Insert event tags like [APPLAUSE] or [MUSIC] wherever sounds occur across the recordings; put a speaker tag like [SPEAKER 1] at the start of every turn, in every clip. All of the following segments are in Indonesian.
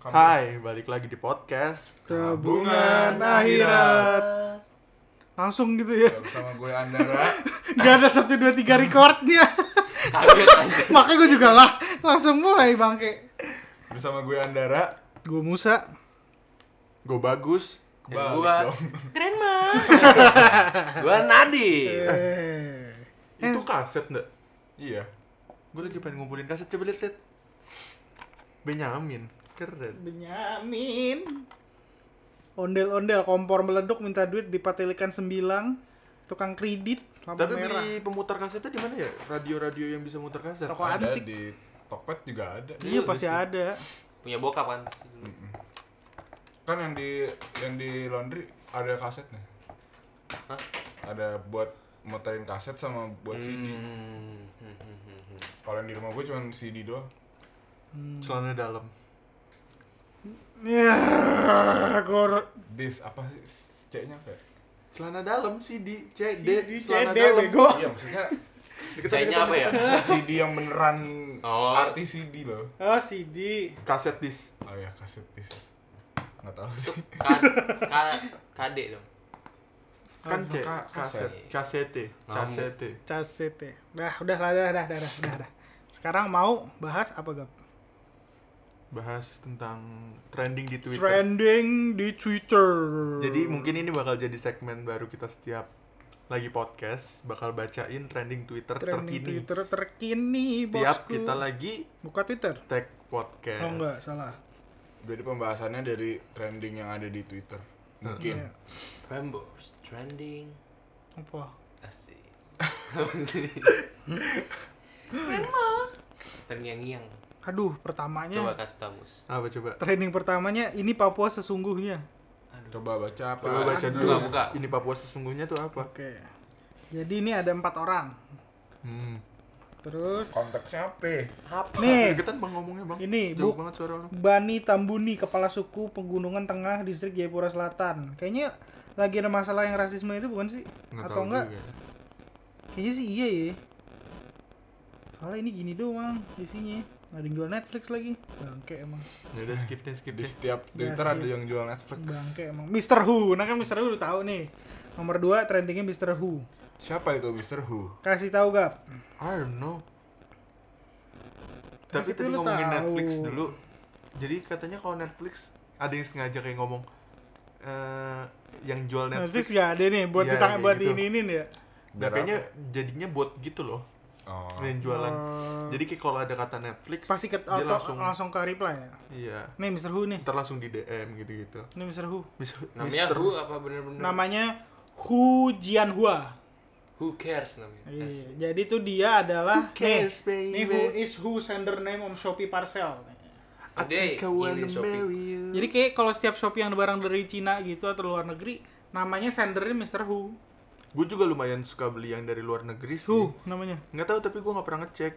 [SPEAKER 1] Kamu-
[SPEAKER 2] Hai, balik lagi di podcast
[SPEAKER 1] Gitu,
[SPEAKER 3] Tabungan
[SPEAKER 2] akhirat. Langsung gitu ya. [LAUGHS]
[SPEAKER 1] Bersama gue Andara.
[SPEAKER 2] Gak ada 1 2 3 recordnya.
[SPEAKER 3] Kaget aja.
[SPEAKER 2] [LAUGHS] Makanya gue juga lah langsung mulai bangke.
[SPEAKER 1] Bersama gue Andara.
[SPEAKER 2] Gue Musa. Gue bagus.
[SPEAKER 1] Kebalik
[SPEAKER 3] gua.
[SPEAKER 1] dong.
[SPEAKER 3] Gua Nadi.
[SPEAKER 2] Eh.
[SPEAKER 4] Itu kaset ndak?
[SPEAKER 1] Iya.
[SPEAKER 4] Gue lagi pengen ngumpulin kaset, coba lihat lihat. Benyamin, keren.
[SPEAKER 2] Benyamin. Ondel-ondel kompor meleduk minta duit di Patelikan Sembilang. Tukang kredit lampu
[SPEAKER 4] Tapi
[SPEAKER 2] merah.
[SPEAKER 4] beli pemutar kasetnya di mana ya? Radio-radio yang bisa muter kaset.
[SPEAKER 2] Toko
[SPEAKER 1] Ada
[SPEAKER 2] antik.
[SPEAKER 1] di Tokped juga ada.
[SPEAKER 2] Iya pasti ada.
[SPEAKER 3] Punya bokap kan.
[SPEAKER 1] Kan yang di yang di laundry ada kasetnya.
[SPEAKER 3] Hah?
[SPEAKER 1] Ada buat muterin kaset sama buat CD.
[SPEAKER 3] Hmm. hmm, hmm, hmm, hmm.
[SPEAKER 1] Kalau yang di rumah gue cuma CD doang.
[SPEAKER 4] Celana dalam.
[SPEAKER 2] Ya, gue
[SPEAKER 1] This apa sih C-nya ya?
[SPEAKER 3] [LAUGHS]
[SPEAKER 1] kayak?
[SPEAKER 4] Celana dalam CD, CD, Eh, celana
[SPEAKER 2] CD
[SPEAKER 4] dalam.
[SPEAKER 2] bego.
[SPEAKER 1] Iya maksudnya
[SPEAKER 3] Sayangnya apa ya?
[SPEAKER 1] CD yang beneran
[SPEAKER 3] Oh.
[SPEAKER 1] artis CD loh.
[SPEAKER 2] Oh CD.
[SPEAKER 4] Kaset disc.
[SPEAKER 1] Oh ya kaset this. Nggak tahu sih.
[SPEAKER 3] Ka- ka- KD dong.
[SPEAKER 4] Kan
[SPEAKER 1] Oh,
[SPEAKER 4] C,
[SPEAKER 1] ka-
[SPEAKER 4] kaset, kasete,
[SPEAKER 3] Ngamuk.
[SPEAKER 4] kasete.
[SPEAKER 2] Casete. ya. Dah, udah lah, dah, dah, dah, dah, dah, dah. Sekarang mau bahas apa, Gap?
[SPEAKER 4] Bahas tentang trending di Twitter.
[SPEAKER 2] Trending di Twitter.
[SPEAKER 4] Gitu. Jadi mungkin ini bakal jadi segmen baru kita setiap lagi podcast bakal bacain trending Twitter
[SPEAKER 2] trending
[SPEAKER 4] terkini.
[SPEAKER 2] Twitter terkini,
[SPEAKER 4] Setiap
[SPEAKER 2] bosku.
[SPEAKER 4] kita lagi
[SPEAKER 2] Buka Twitter.
[SPEAKER 4] tag podcast.
[SPEAKER 2] Oh enggak, salah.
[SPEAKER 1] Jadi pembahasannya dari trending yang ada di Twitter. Mungkin.
[SPEAKER 2] Iya.
[SPEAKER 3] Prambors trending.
[SPEAKER 2] Apa?
[SPEAKER 3] Asik. Terngiang-ngiang.
[SPEAKER 2] Aduh, pertamanya.
[SPEAKER 3] Coba kasih tau, Mus.
[SPEAKER 4] Apa coba?
[SPEAKER 2] Trending pertamanya ini Papua sesungguhnya.
[SPEAKER 1] Coba baca apa?
[SPEAKER 4] Coba baca dulu.
[SPEAKER 3] Buka, buka.
[SPEAKER 4] Ini Papua sesungguhnya tuh apa?
[SPEAKER 2] Oke. Jadi ini ada empat orang.
[SPEAKER 4] Hmm.
[SPEAKER 2] Terus
[SPEAKER 1] Konteksnya apa?
[SPEAKER 2] nih
[SPEAKER 4] Deketan bang ngomongnya bang.
[SPEAKER 2] Ini,
[SPEAKER 4] Jauh
[SPEAKER 2] Bu.
[SPEAKER 4] banget suara lu.
[SPEAKER 2] Bani Tambuni, kepala suku Pegunungan Tengah, distrik Jayapura Selatan. Kayaknya lagi ada masalah yang rasisme itu bukan sih? Atau
[SPEAKER 4] tahu
[SPEAKER 2] enggak?
[SPEAKER 4] juga.
[SPEAKER 2] Kayaknya sih iya ya. Soalnya ini gini doang isinya. Ada yang jual Netflix lagi. Bangke emang.
[SPEAKER 4] Ya udah skip deh skip
[SPEAKER 1] Di
[SPEAKER 4] deh.
[SPEAKER 1] setiap Twitter
[SPEAKER 2] Biasa.
[SPEAKER 1] ada yang jual Netflix.
[SPEAKER 2] Bangke emang. Mr. Who. Nah kan Mr. Who udah tahu nih. Nomor 2 trendingnya Mr. Who.
[SPEAKER 1] Siapa itu Mr. Who?
[SPEAKER 2] Kasih tahu Gap.
[SPEAKER 4] I don't know. Tapi
[SPEAKER 2] itu
[SPEAKER 4] tadi
[SPEAKER 2] lu
[SPEAKER 4] ngomongin
[SPEAKER 2] tahu.
[SPEAKER 4] Netflix dulu. Jadi katanya kalau Netflix ada yang sengaja kayak ngomong eh yang jual
[SPEAKER 2] Netflix,
[SPEAKER 4] Netflix.
[SPEAKER 2] nggak ada nih buat
[SPEAKER 4] Iya,
[SPEAKER 2] ditang-
[SPEAKER 4] kayak
[SPEAKER 2] buat
[SPEAKER 4] gitu.
[SPEAKER 2] ini ini ya.
[SPEAKER 4] Nah, kayaknya jadinya buat gitu loh
[SPEAKER 1] Oh.
[SPEAKER 4] yang jualan.
[SPEAKER 2] Oh.
[SPEAKER 4] Jadi kayak kalau ada kata Netflix
[SPEAKER 2] pasti ke
[SPEAKER 4] dia
[SPEAKER 2] auto-
[SPEAKER 4] langsung
[SPEAKER 2] langsung ke reply ya.
[SPEAKER 4] iya.
[SPEAKER 2] Nih Mr. Who nih.
[SPEAKER 4] Ntar langsung di DM gitu-gitu.
[SPEAKER 2] Ini Mr. Who.
[SPEAKER 4] Mis-
[SPEAKER 3] Namanya
[SPEAKER 4] Mister-
[SPEAKER 3] Who
[SPEAKER 1] eh,
[SPEAKER 3] apa bener-bener?
[SPEAKER 2] Namanya Hu Jianhua.
[SPEAKER 3] Who cares namanya?
[SPEAKER 2] Iya,
[SPEAKER 3] Asik.
[SPEAKER 2] jadi itu dia adalah
[SPEAKER 4] cares,
[SPEAKER 2] nih, nih
[SPEAKER 4] baby?
[SPEAKER 2] who is who sender name on Shopee parcel.
[SPEAKER 4] I
[SPEAKER 3] Today
[SPEAKER 4] think I wanna
[SPEAKER 3] in shopping.
[SPEAKER 4] marry you.
[SPEAKER 2] Jadi kayak kalau setiap Shopee yang ada barang dari Cina gitu atau luar negeri, namanya sendernya Mr. Who.
[SPEAKER 4] Gue juga lumayan suka beli yang dari luar negeri sih.
[SPEAKER 2] Who Iya, namanya.
[SPEAKER 4] Nggak tahu tapi gue nggak pernah ngecek.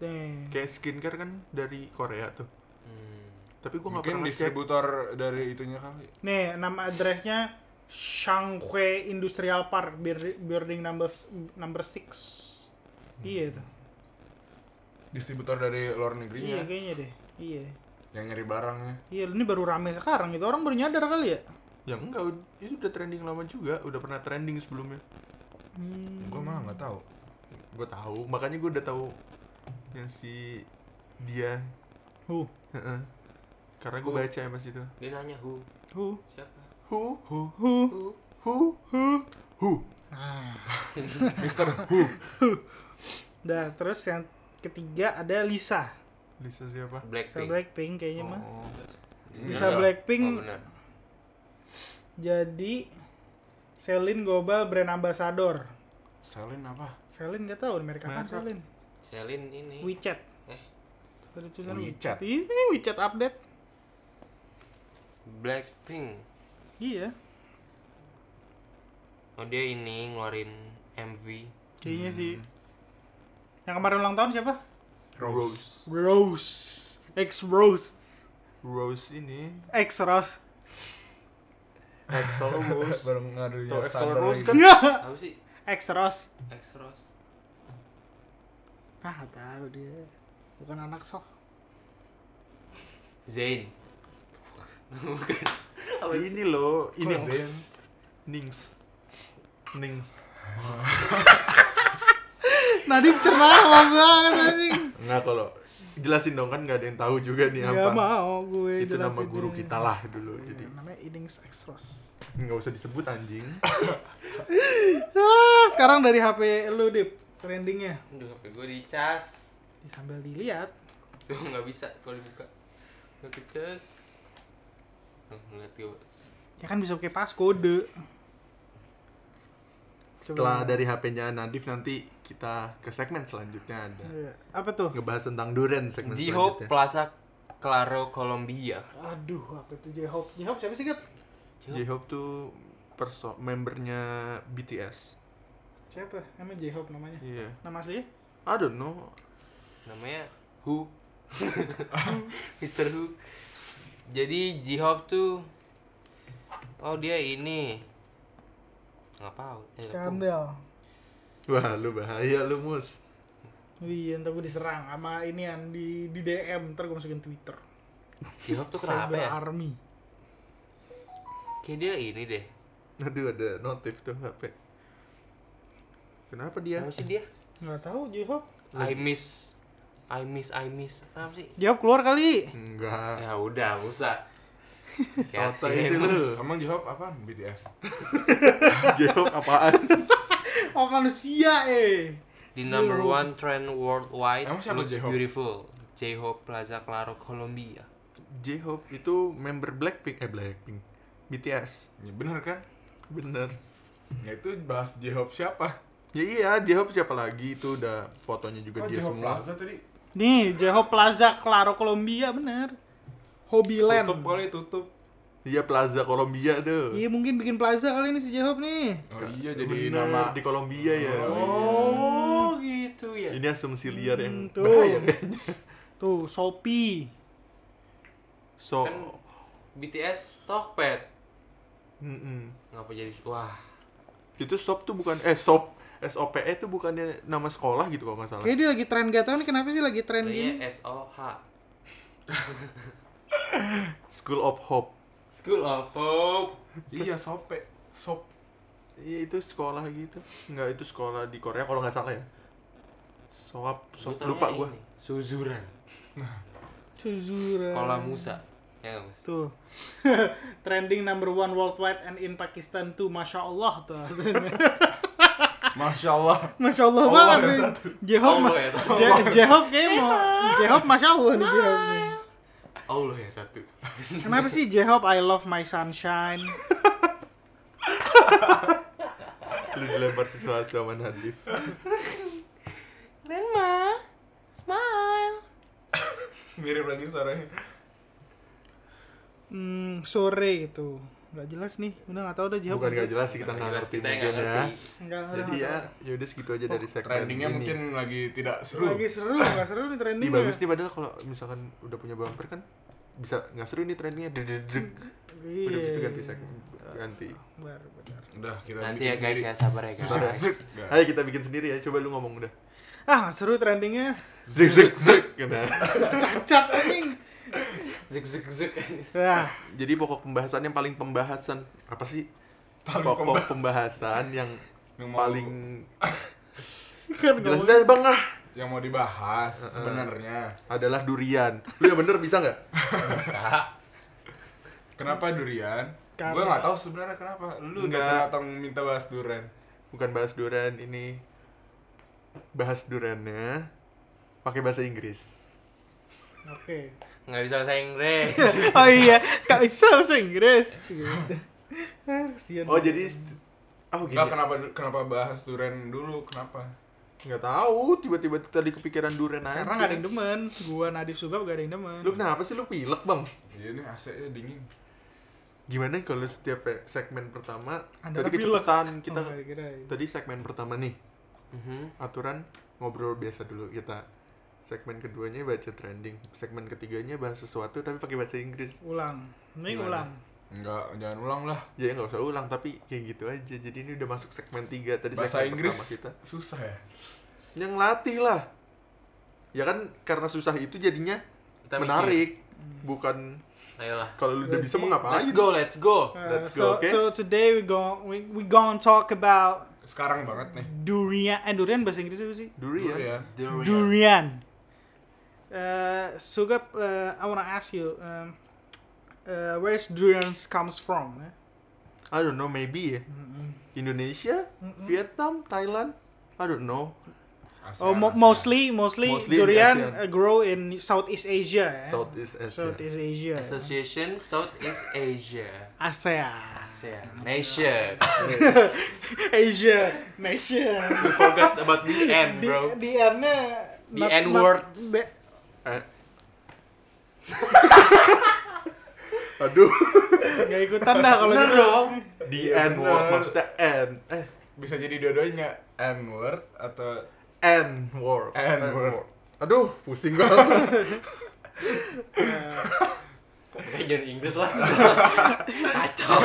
[SPEAKER 2] Deh.
[SPEAKER 4] Kayak skincare kan dari Korea tuh.
[SPEAKER 3] Hmm.
[SPEAKER 4] Tapi gue nggak
[SPEAKER 1] Mungkin
[SPEAKER 4] pernah ngecek.
[SPEAKER 1] distributor dari itunya kali.
[SPEAKER 2] Nih, nama addressnya Shanghui Industrial Park Build- building number s- number 6. Iya tuh.
[SPEAKER 1] Distributor dari luar
[SPEAKER 2] Iya
[SPEAKER 1] negerinya
[SPEAKER 2] kayaknya deh. Iya.
[SPEAKER 1] yang nyari barangnya.
[SPEAKER 2] Iya, ini baru rame sekarang gitu. Orang baru nyadar kali ya.
[SPEAKER 4] Ya enggak, ud- itu udah trending lama juga. Udah pernah trending sebelumnya.
[SPEAKER 1] Gue malah nggak tahu.
[SPEAKER 4] Gue tahu, makanya gue udah tahu yang si dia.
[SPEAKER 2] Who.
[SPEAKER 4] Heeh. Karena gue
[SPEAKER 3] Who?
[SPEAKER 4] baca ya mas itu.
[SPEAKER 3] Dia nanya who.
[SPEAKER 2] Who.
[SPEAKER 3] Siapa?
[SPEAKER 4] Who? Who?
[SPEAKER 2] Who.
[SPEAKER 3] Who.
[SPEAKER 4] Who? Who? Who?
[SPEAKER 2] Nah.
[SPEAKER 1] [LAUGHS] Mister Who.
[SPEAKER 2] Dah, terus yang ketiga ada Lisa.
[SPEAKER 4] Lisa siapa?
[SPEAKER 2] Lisa
[SPEAKER 3] Blackpink.
[SPEAKER 2] Blackpink kayaknya mah.
[SPEAKER 4] Oh.
[SPEAKER 2] Bisa
[SPEAKER 3] Iya.
[SPEAKER 2] Blackpink.
[SPEAKER 3] Oh, benar.
[SPEAKER 2] Jadi Celine Global Brand Ambassador.
[SPEAKER 1] Salin apa?
[SPEAKER 2] Celine gak tahu merek apa
[SPEAKER 4] Merek.
[SPEAKER 2] Celine.
[SPEAKER 3] Celine ini.
[SPEAKER 2] WeChat.
[SPEAKER 3] Eh,
[SPEAKER 2] Ada tulisan
[SPEAKER 1] WeChat.
[SPEAKER 2] Ini WeChat update.
[SPEAKER 3] Blackpink.
[SPEAKER 2] Iya.
[SPEAKER 3] Oh dia ini ngeluarin MV.
[SPEAKER 2] Kayaknya sih. Yang kemarin ulang tahun siapa?
[SPEAKER 4] Rose.
[SPEAKER 2] Rose. X Rose.
[SPEAKER 4] Rose ini
[SPEAKER 2] X Rose.
[SPEAKER 4] Axel Rose.
[SPEAKER 1] Baru ngadunya
[SPEAKER 4] Tuh, Axl
[SPEAKER 1] standar
[SPEAKER 4] Rose
[SPEAKER 1] lagi.
[SPEAKER 4] kan-
[SPEAKER 2] [LAUGHS] Enggak.
[SPEAKER 3] Apa sih?
[SPEAKER 2] X Rose.
[SPEAKER 3] X Rose.
[SPEAKER 2] Ah, tahu dia. Bukan anak sok.
[SPEAKER 3] Zayn. Bukan. Apa sih?
[SPEAKER 4] Oh, ini loh ini
[SPEAKER 1] Kok Zen?
[SPEAKER 4] Nings Nings Nings
[SPEAKER 2] Nadif cerah lama banget anjing.
[SPEAKER 4] nggak kalau jelasin dong kan nggak ada yang tahu juga nih
[SPEAKER 2] Gak
[SPEAKER 4] apa
[SPEAKER 2] mau gue
[SPEAKER 4] itu nama
[SPEAKER 2] jelasin
[SPEAKER 4] guru
[SPEAKER 2] ini.
[SPEAKER 4] kita lah dulu
[SPEAKER 2] Iya,
[SPEAKER 4] jadi
[SPEAKER 2] namanya Innings Extras.
[SPEAKER 4] nggak usah disebut anjing
[SPEAKER 2] Ah, sekarang dari HP lu Dip, trendingnya.
[SPEAKER 3] Aduh, HP gue dicas.
[SPEAKER 2] Ih, Sambil dilihat,
[SPEAKER 3] Gue nggak bisa kalau dibuka. Nggak kecas. Tuh, Ngeliat gue.
[SPEAKER 2] ya kan bisa pakai passcode.
[SPEAKER 4] setelah dari HP-nya Nadif nanti kita ke segmen selanjutnya ada
[SPEAKER 2] Iya. Apa tuh?
[SPEAKER 4] ngebahas tentang durian segmen
[SPEAKER 3] Jiho
[SPEAKER 4] selanjutnya
[SPEAKER 3] Plaza Claro Colombia.
[SPEAKER 2] Aduh, apa tuh J-Hope? J-Hope siapa sih, Gap?
[SPEAKER 4] J-Hope tuh perso membernya BTS
[SPEAKER 2] Siapa? Emang J-Hope namanya?
[SPEAKER 4] iya
[SPEAKER 2] Nama aslinya?
[SPEAKER 4] I don't know
[SPEAKER 3] namanya Who [LAUGHS] Mister Who jadi J-Hope tuh oh dia ini nggak tahu eh, aku-
[SPEAKER 2] Kandel.
[SPEAKER 4] wah lu bahaya lu mus
[SPEAKER 2] Wih, ntar gue diserang sama inian di di DM, ntar gue masukin Twitter.
[SPEAKER 3] J-Hope tuh kenapa
[SPEAKER 2] Cyber
[SPEAKER 3] ya
[SPEAKER 2] Army.
[SPEAKER 3] kayak dia ini deh
[SPEAKER 4] aduh ada notif tuh HP kenapa dia
[SPEAKER 3] apa sih dia
[SPEAKER 2] Nggak tahu J-Hope.
[SPEAKER 3] I miss I miss I miss apa sih
[SPEAKER 2] J-Hope keluar
[SPEAKER 4] [LAUGHS]
[SPEAKER 2] kali.
[SPEAKER 4] enggak
[SPEAKER 3] ya udah usah
[SPEAKER 4] Ah. Soto itu
[SPEAKER 3] Yakin,
[SPEAKER 4] lu
[SPEAKER 3] Mas.
[SPEAKER 1] Emang jawab apa? BTS.
[SPEAKER 4] J-Hope apaan
[SPEAKER 2] Oh manusia, eh.
[SPEAKER 3] the number
[SPEAKER 2] Yo.
[SPEAKER 3] one trend worldwide
[SPEAKER 1] Emang siapa
[SPEAKER 3] looks
[SPEAKER 1] J-Hope?
[SPEAKER 3] beautiful J-Hope Plaza Claro Colombia
[SPEAKER 4] J-Hope itu member Blackpink eh Blackpink BTS
[SPEAKER 1] Ya bener kan?
[SPEAKER 4] bener
[SPEAKER 1] Ya itu bahas J-Hope siapa?
[SPEAKER 4] ya iya J-Hope siapa lagi itu udah fotonya juga
[SPEAKER 1] Kok Oh,
[SPEAKER 4] dia
[SPEAKER 1] J-Hope
[SPEAKER 4] semua
[SPEAKER 1] Plaza tadi?
[SPEAKER 2] Nih, J-Hope Plaza Claro Colombia bener. Hobbyland.
[SPEAKER 1] Tutup kali, tutup.
[SPEAKER 4] iya Plaza Kolombia tuh
[SPEAKER 2] Iya, mungkin bikin plaza kali ini si J-Hope nih.
[SPEAKER 1] Oh
[SPEAKER 4] Ka-
[SPEAKER 1] iya, jadi
[SPEAKER 4] bener,
[SPEAKER 1] nama
[SPEAKER 4] di Kolombia ya
[SPEAKER 3] oh gitu ya
[SPEAKER 4] ini asumsi liar yang
[SPEAKER 3] Hmm,
[SPEAKER 2] Hmm, Tuh.
[SPEAKER 4] bahaya kayaknya
[SPEAKER 2] Tuh, Shopee.
[SPEAKER 4] so
[SPEAKER 3] kan BTS Tokped
[SPEAKER 4] mm-mm.
[SPEAKER 3] ngapa jadi wah
[SPEAKER 4] itu SOP tuh bukan eh SOP SOPE itu E bukannya nama sekolah gitu kalau nggak salah
[SPEAKER 2] Kayaknya dia lagi tren gak tau nih kenapa sih lagi tren gini.
[SPEAKER 3] Namanya SOH
[SPEAKER 4] School of Hope
[SPEAKER 3] School of Hope
[SPEAKER 1] Iya, sope.
[SPEAKER 4] [LAUGHS]
[SPEAKER 1] Sop.
[SPEAKER 4] iya itu sekolah gitu nggak itu sekolah di Korea kalau nggak salah ya Soap, sop,
[SPEAKER 3] Gua
[SPEAKER 4] lupa
[SPEAKER 3] taunya
[SPEAKER 4] gua
[SPEAKER 3] ini, Suzuran
[SPEAKER 2] Suzura.
[SPEAKER 3] Sekolah Musa Ya nggak, Mas?
[SPEAKER 2] Tuh. [LAUGHS] Trending number one worldwide and in Pakistan tuh Masya Allah tuh. [LAUGHS]
[SPEAKER 1] Masya Allah.
[SPEAKER 2] Masya
[SPEAKER 4] Oh,
[SPEAKER 2] Allah
[SPEAKER 1] Allah
[SPEAKER 2] banget
[SPEAKER 1] yang
[SPEAKER 2] nih.
[SPEAKER 1] satu.
[SPEAKER 2] J-Hope
[SPEAKER 3] Allah
[SPEAKER 2] ma- [LAUGHS]
[SPEAKER 3] ya satu.
[SPEAKER 4] [LAUGHS]
[SPEAKER 2] J- J-Hope kayaknya mau. J-Hope Masya Allah nih J-Hope nih.
[SPEAKER 3] Allah ya satu
[SPEAKER 2] Kenapa sih J-Hope I love my sunshine?
[SPEAKER 4] lu dilempar sesuatu sama Nadif
[SPEAKER 3] Grandma Smile
[SPEAKER 1] Mirip lagi suaranya.
[SPEAKER 2] Hmm, sore gitu. Gak jelas nih. Udah gak tau udah J-Hope.
[SPEAKER 4] bukan nggak jelas sih kita nggak
[SPEAKER 3] Iya, Jelas
[SPEAKER 4] ngerti
[SPEAKER 3] kita yang
[SPEAKER 4] mungkin
[SPEAKER 3] nggak
[SPEAKER 4] ya
[SPEAKER 3] ngerti.
[SPEAKER 2] Nggak- nggak
[SPEAKER 4] jadi ya
[SPEAKER 2] tahu.
[SPEAKER 4] yaudah segitu aja dari segmen
[SPEAKER 1] Oh, Trendingnya
[SPEAKER 4] ini
[SPEAKER 1] mungkin lagi tidak seru.
[SPEAKER 2] Lagi seru, gak seru nih
[SPEAKER 4] ini
[SPEAKER 2] trendingnya.
[SPEAKER 4] bagus nih padahal kalau misalkan udah punya bumper kan bisa nggak seru nih trendingnya dededeg
[SPEAKER 2] Iya.
[SPEAKER 4] udah bisa ganti segmen
[SPEAKER 3] Iya.
[SPEAKER 4] ganti
[SPEAKER 2] Baru benar.
[SPEAKER 1] Udah, kita
[SPEAKER 3] Nanti
[SPEAKER 1] bikin
[SPEAKER 3] ya guys ya
[SPEAKER 1] sendiri.
[SPEAKER 3] sabar ya guys
[SPEAKER 4] Zek.
[SPEAKER 1] Nggak.
[SPEAKER 4] ayo kita bikin sendiri ya coba lu ngomong udah
[SPEAKER 2] Ah, nggak seru trendingnya.
[SPEAKER 4] zek zek zek Nah.
[SPEAKER 2] Cacat anjing.
[SPEAKER 3] Zek zek zek
[SPEAKER 2] Nah,
[SPEAKER 4] jadi pokok pembahasannya paling pembahasan apa sih
[SPEAKER 1] Paling
[SPEAKER 4] pokok pembahasan yang
[SPEAKER 1] Yang mau-
[SPEAKER 4] paling
[SPEAKER 2] kan nggak
[SPEAKER 4] jelas
[SPEAKER 2] boleh.
[SPEAKER 4] dari bang ah
[SPEAKER 1] Yang mau dibahas sebenarnya.
[SPEAKER 4] adalah durian lu yang bener bisa nggak
[SPEAKER 3] Bisa
[SPEAKER 1] Kenapa durian?
[SPEAKER 2] Karena-
[SPEAKER 1] Gue nggak tahu sebenarnya kenapa. Lu
[SPEAKER 4] Nggak.
[SPEAKER 1] datang datang minta bahas durian.
[SPEAKER 4] bukan bahas durian ini bahas duriannya pakai bahasa Inggris
[SPEAKER 2] Oke.
[SPEAKER 3] Nggak bisa bahasa Inggris
[SPEAKER 2] Oh iya, Kak bisa bahasa Inggris. Gitu. Ah, kesian.
[SPEAKER 4] oh jadi st- oh gini
[SPEAKER 1] Nggak kenapa kenapa bahas durian dulu? Kenapa?
[SPEAKER 4] nggak tahu tiba-tiba tadi kepikiran durian aja
[SPEAKER 2] karena nggak ada yang demen. Gua Nadif Sugab gak ada yang demen.
[SPEAKER 4] lu kenapa sih lu pilek bang
[SPEAKER 1] Iya ini AC-nya dingin.
[SPEAKER 4] gimana kalau setiap pe- segmen pertama
[SPEAKER 2] Anda
[SPEAKER 4] tadi
[SPEAKER 2] pilek.
[SPEAKER 4] kecepatan kita
[SPEAKER 2] Oh, nggak dikirain.
[SPEAKER 4] tadi segmen pertama nih
[SPEAKER 3] Mhm.
[SPEAKER 4] aturan ngobrol biasa dulu kita segmen keduanya baca trending segmen ketiganya bahas sesuatu tapi pakai bahasa Inggris
[SPEAKER 2] ulang. Mending
[SPEAKER 3] Gimana?
[SPEAKER 2] ulang.
[SPEAKER 1] Enggak, jangan ulang lah.
[SPEAKER 4] ya nggak usah ulang tapi kayak gitu aja jadi ini udah masuk segmen tiga tadi
[SPEAKER 1] Bahasa
[SPEAKER 4] segmen
[SPEAKER 1] Inggris
[SPEAKER 4] pertama kita
[SPEAKER 1] susah ya.
[SPEAKER 4] yang latih lah ya kan karena susah itu jadinya
[SPEAKER 3] Kita mikir.
[SPEAKER 4] menarik bukan
[SPEAKER 3] Ayolah.
[SPEAKER 4] kalau lu udah bisa mau ngapain
[SPEAKER 3] Let's go, let's go.
[SPEAKER 2] Uh,
[SPEAKER 4] Let's
[SPEAKER 2] so,
[SPEAKER 4] go, okay?
[SPEAKER 2] so today we go we we gonna talk about
[SPEAKER 1] Sekarang banget nih.
[SPEAKER 2] durian. Eh durian bahasa Inggris apa sih?
[SPEAKER 1] Durian.
[SPEAKER 4] durian
[SPEAKER 3] Durian.
[SPEAKER 2] Durian. Uh, Sugap, uh, I wanna ask you, um, uh, where's durians comes from? eh? Mm-hmm.
[SPEAKER 4] I don't know maybe ya Indonesia
[SPEAKER 3] Hmm.
[SPEAKER 4] Vietnam Thailand I don't know
[SPEAKER 1] Asean,
[SPEAKER 2] Oh, mo-
[SPEAKER 1] Asean.
[SPEAKER 2] mostly, mostly,
[SPEAKER 4] Mostly in
[SPEAKER 2] durian
[SPEAKER 4] ASEAN.
[SPEAKER 2] uh, grow in Southeast
[SPEAKER 3] Ya,
[SPEAKER 2] Asia. eh?
[SPEAKER 4] Southeast Asia
[SPEAKER 2] Southeast Asia.
[SPEAKER 3] Association Southeast Asia.
[SPEAKER 2] ASEAN.
[SPEAKER 3] ASEAN. Nation.
[SPEAKER 2] Asia. Nation.
[SPEAKER 3] We forgot about the end,
[SPEAKER 2] Di,
[SPEAKER 3] bro.
[SPEAKER 2] di N-nya...
[SPEAKER 3] The
[SPEAKER 2] eh? not-
[SPEAKER 3] N
[SPEAKER 2] not-
[SPEAKER 3] words.
[SPEAKER 2] be-
[SPEAKER 4] Eh. aduh
[SPEAKER 2] Nggak ikutan dah kalau
[SPEAKER 3] Bener
[SPEAKER 2] gitu.
[SPEAKER 3] dong.
[SPEAKER 4] di N word maksudnya N eh
[SPEAKER 1] bisa jadi dua-duanya N word atau
[SPEAKER 4] N word
[SPEAKER 1] N word.
[SPEAKER 4] aduh pusing gua
[SPEAKER 3] [LAUGHS]
[SPEAKER 4] langsung
[SPEAKER 2] Eh,
[SPEAKER 3] Kayak jangan Inggris lah. [LAUGHS] Kacau.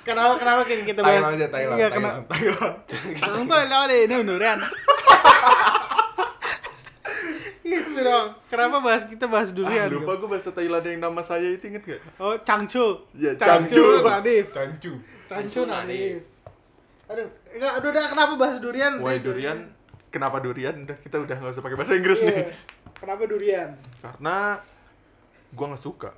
[SPEAKER 2] kenapa kenapa kita kita bahas?
[SPEAKER 1] Thailand aja Thailand.
[SPEAKER 2] Iya,
[SPEAKER 1] Thailand.
[SPEAKER 2] kenapa?
[SPEAKER 1] Thailand.
[SPEAKER 2] Tangan tuh lewat deh, ini unduran. gitu dong. Kenapa bahas kita
[SPEAKER 4] ah,
[SPEAKER 2] bahas durian?
[SPEAKER 4] lupa gua bahasa Thailand yang nama saya itu inget gak
[SPEAKER 2] Oh, Changchu.
[SPEAKER 4] Ya,
[SPEAKER 2] Changchu
[SPEAKER 4] Changchu.
[SPEAKER 2] Nadif.
[SPEAKER 1] Cancu.
[SPEAKER 2] Changchu Nadif. Aduh, enggak, aduh, udah kenapa bahas durian?
[SPEAKER 4] why durian kenapa durian udah kita udah nggak usah pakai bahasa Inggris
[SPEAKER 2] Iya.
[SPEAKER 4] nih
[SPEAKER 2] Kenapa durian?
[SPEAKER 4] karena gua nggak suka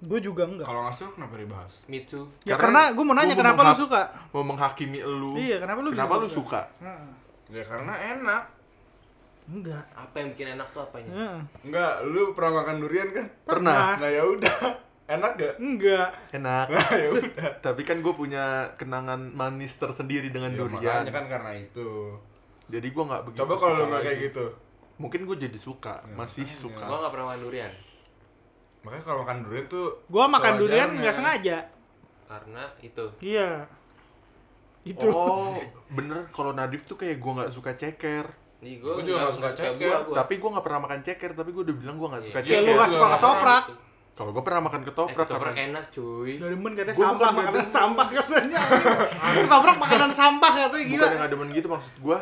[SPEAKER 2] Gue juga enggak.
[SPEAKER 1] Kalau nggak suka kenapa dibahas?
[SPEAKER 3] Me too.
[SPEAKER 2] Ya karena,
[SPEAKER 4] Karena
[SPEAKER 2] gue mau
[SPEAKER 4] gua
[SPEAKER 2] nanya
[SPEAKER 4] mau
[SPEAKER 2] kenapa lu
[SPEAKER 4] menghap-
[SPEAKER 2] suka.
[SPEAKER 4] mau menghakimi elu
[SPEAKER 2] Iya, kenapa lu bisa
[SPEAKER 4] kenapa lu
[SPEAKER 2] suka?
[SPEAKER 4] suka
[SPEAKER 2] Heeh.
[SPEAKER 1] Ya karena enak.
[SPEAKER 2] Enggak.
[SPEAKER 3] Apa yang bikin enak tuh apanya?
[SPEAKER 2] Heeh.
[SPEAKER 1] Enggak, lu pernah makan durian kan?
[SPEAKER 2] Pernah.
[SPEAKER 4] pernah
[SPEAKER 1] Nah ya udah. Enak gak?
[SPEAKER 2] Enggak.
[SPEAKER 4] enak
[SPEAKER 1] Nah ya udah.
[SPEAKER 4] tapi kan gue punya kenangan manis tersendiri dengan
[SPEAKER 1] Ya,
[SPEAKER 4] durian
[SPEAKER 1] makanya kan karena itu.
[SPEAKER 4] jadi gue nggak begitu
[SPEAKER 1] Coba kalau lu
[SPEAKER 4] suka
[SPEAKER 1] nggak kayak
[SPEAKER 4] lagi.
[SPEAKER 1] gitu.
[SPEAKER 4] mungkin gue jadi suka masih suka
[SPEAKER 3] Gua nggak pernah makan durian
[SPEAKER 1] Makanya kalau makan durian tuh
[SPEAKER 2] Gue makan durian
[SPEAKER 1] sewajarnya.
[SPEAKER 2] nggak sengaja.
[SPEAKER 3] karena itu.
[SPEAKER 2] Iya. Itu.
[SPEAKER 4] oh bener kalau Nadif tuh kayak gue nggak suka ceker
[SPEAKER 3] Nih gua
[SPEAKER 1] Gua juga
[SPEAKER 3] nggak
[SPEAKER 1] nggak suka
[SPEAKER 3] suka
[SPEAKER 1] ceker.
[SPEAKER 3] gua, gua.
[SPEAKER 4] tapi gue nggak pernah makan ceker tapi gue udah bilang gue nggak suka
[SPEAKER 3] Iya.
[SPEAKER 2] Ya lu
[SPEAKER 4] ceker
[SPEAKER 2] nggak suka
[SPEAKER 1] Iya.
[SPEAKER 2] ketoprak.
[SPEAKER 4] kalau gue pernah makan
[SPEAKER 3] Eh,
[SPEAKER 4] ketoprak
[SPEAKER 3] ketoprak
[SPEAKER 4] karena
[SPEAKER 3] enak cuy.
[SPEAKER 2] Dari men katanya
[SPEAKER 4] Gua
[SPEAKER 2] sampah,
[SPEAKER 4] bukan
[SPEAKER 2] makanan
[SPEAKER 4] demen.
[SPEAKER 2] sampah katanya. Ketoprak makanan sampah katanya gila.
[SPEAKER 4] bukan yang ada gitu maksud gue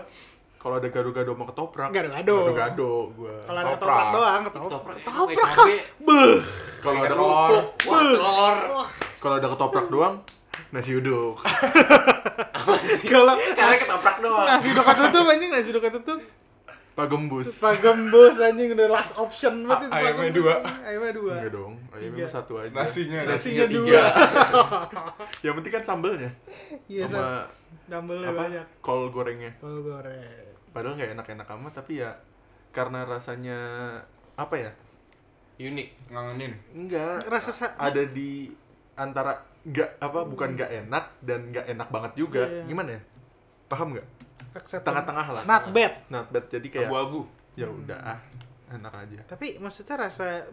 [SPEAKER 4] kalau ada gado-gado sama ketoprak
[SPEAKER 2] Gado-gado.
[SPEAKER 4] gado gue
[SPEAKER 2] Kalau ada
[SPEAKER 1] Ketoprak.
[SPEAKER 2] ketoprak doang,
[SPEAKER 3] Ketoprak
[SPEAKER 2] ketoprak.
[SPEAKER 3] enak, pakai
[SPEAKER 2] Ketoprak.
[SPEAKER 3] cabe.
[SPEAKER 2] Beuh.
[SPEAKER 4] kalau ada
[SPEAKER 1] telur.
[SPEAKER 4] kerupuk
[SPEAKER 3] Wah, telur.
[SPEAKER 4] kalau ada ketoprak doang nasi
[SPEAKER 2] [LAUGHS]
[SPEAKER 4] uduk
[SPEAKER 2] [LAUGHS] Kalau
[SPEAKER 3] Karena ketoprak doang.
[SPEAKER 2] nasi udah ketutup anjing, nasi udah ketutup.
[SPEAKER 4] pak gembus
[SPEAKER 2] Pak gembus anjing udah last option
[SPEAKER 1] A-
[SPEAKER 2] banget itu Pak
[SPEAKER 1] ayamnya
[SPEAKER 2] Gembus,
[SPEAKER 1] dua.
[SPEAKER 2] anjing. Ayamnya E dua.
[SPEAKER 4] Enggak dong, ayamnya
[SPEAKER 2] Tiga.
[SPEAKER 4] mah satu aja.
[SPEAKER 1] Nasinya.
[SPEAKER 2] Nasinya
[SPEAKER 4] E tiga.
[SPEAKER 2] dua.
[SPEAKER 4] Yang penting kan sambelnya
[SPEAKER 2] Iya,
[SPEAKER 4] sama
[SPEAKER 2] sama Dumbbellnya
[SPEAKER 4] apa?
[SPEAKER 2] banyak.
[SPEAKER 4] Kol gorengnya.
[SPEAKER 2] Kol goreng.
[SPEAKER 4] Padahal nggak enak-enak amat tapi ya karena rasanya apa ya?
[SPEAKER 3] Unik.
[SPEAKER 1] ngangenin.
[SPEAKER 4] Enggak.
[SPEAKER 2] Rasa sa-
[SPEAKER 4] ada di antara nggak apa bukan nggak enak dan nggak enak banget juga.
[SPEAKER 2] Iya.
[SPEAKER 4] Gimana ya? Paham nggak?
[SPEAKER 2] Accept.
[SPEAKER 4] Tengah-tengah lah.
[SPEAKER 2] Not bad.
[SPEAKER 4] Not bad. Jadi kayak
[SPEAKER 3] Abu-abu.
[SPEAKER 4] ya udah ah,
[SPEAKER 2] Hmm.
[SPEAKER 4] enak aja.
[SPEAKER 2] Tapi maksudnya rasa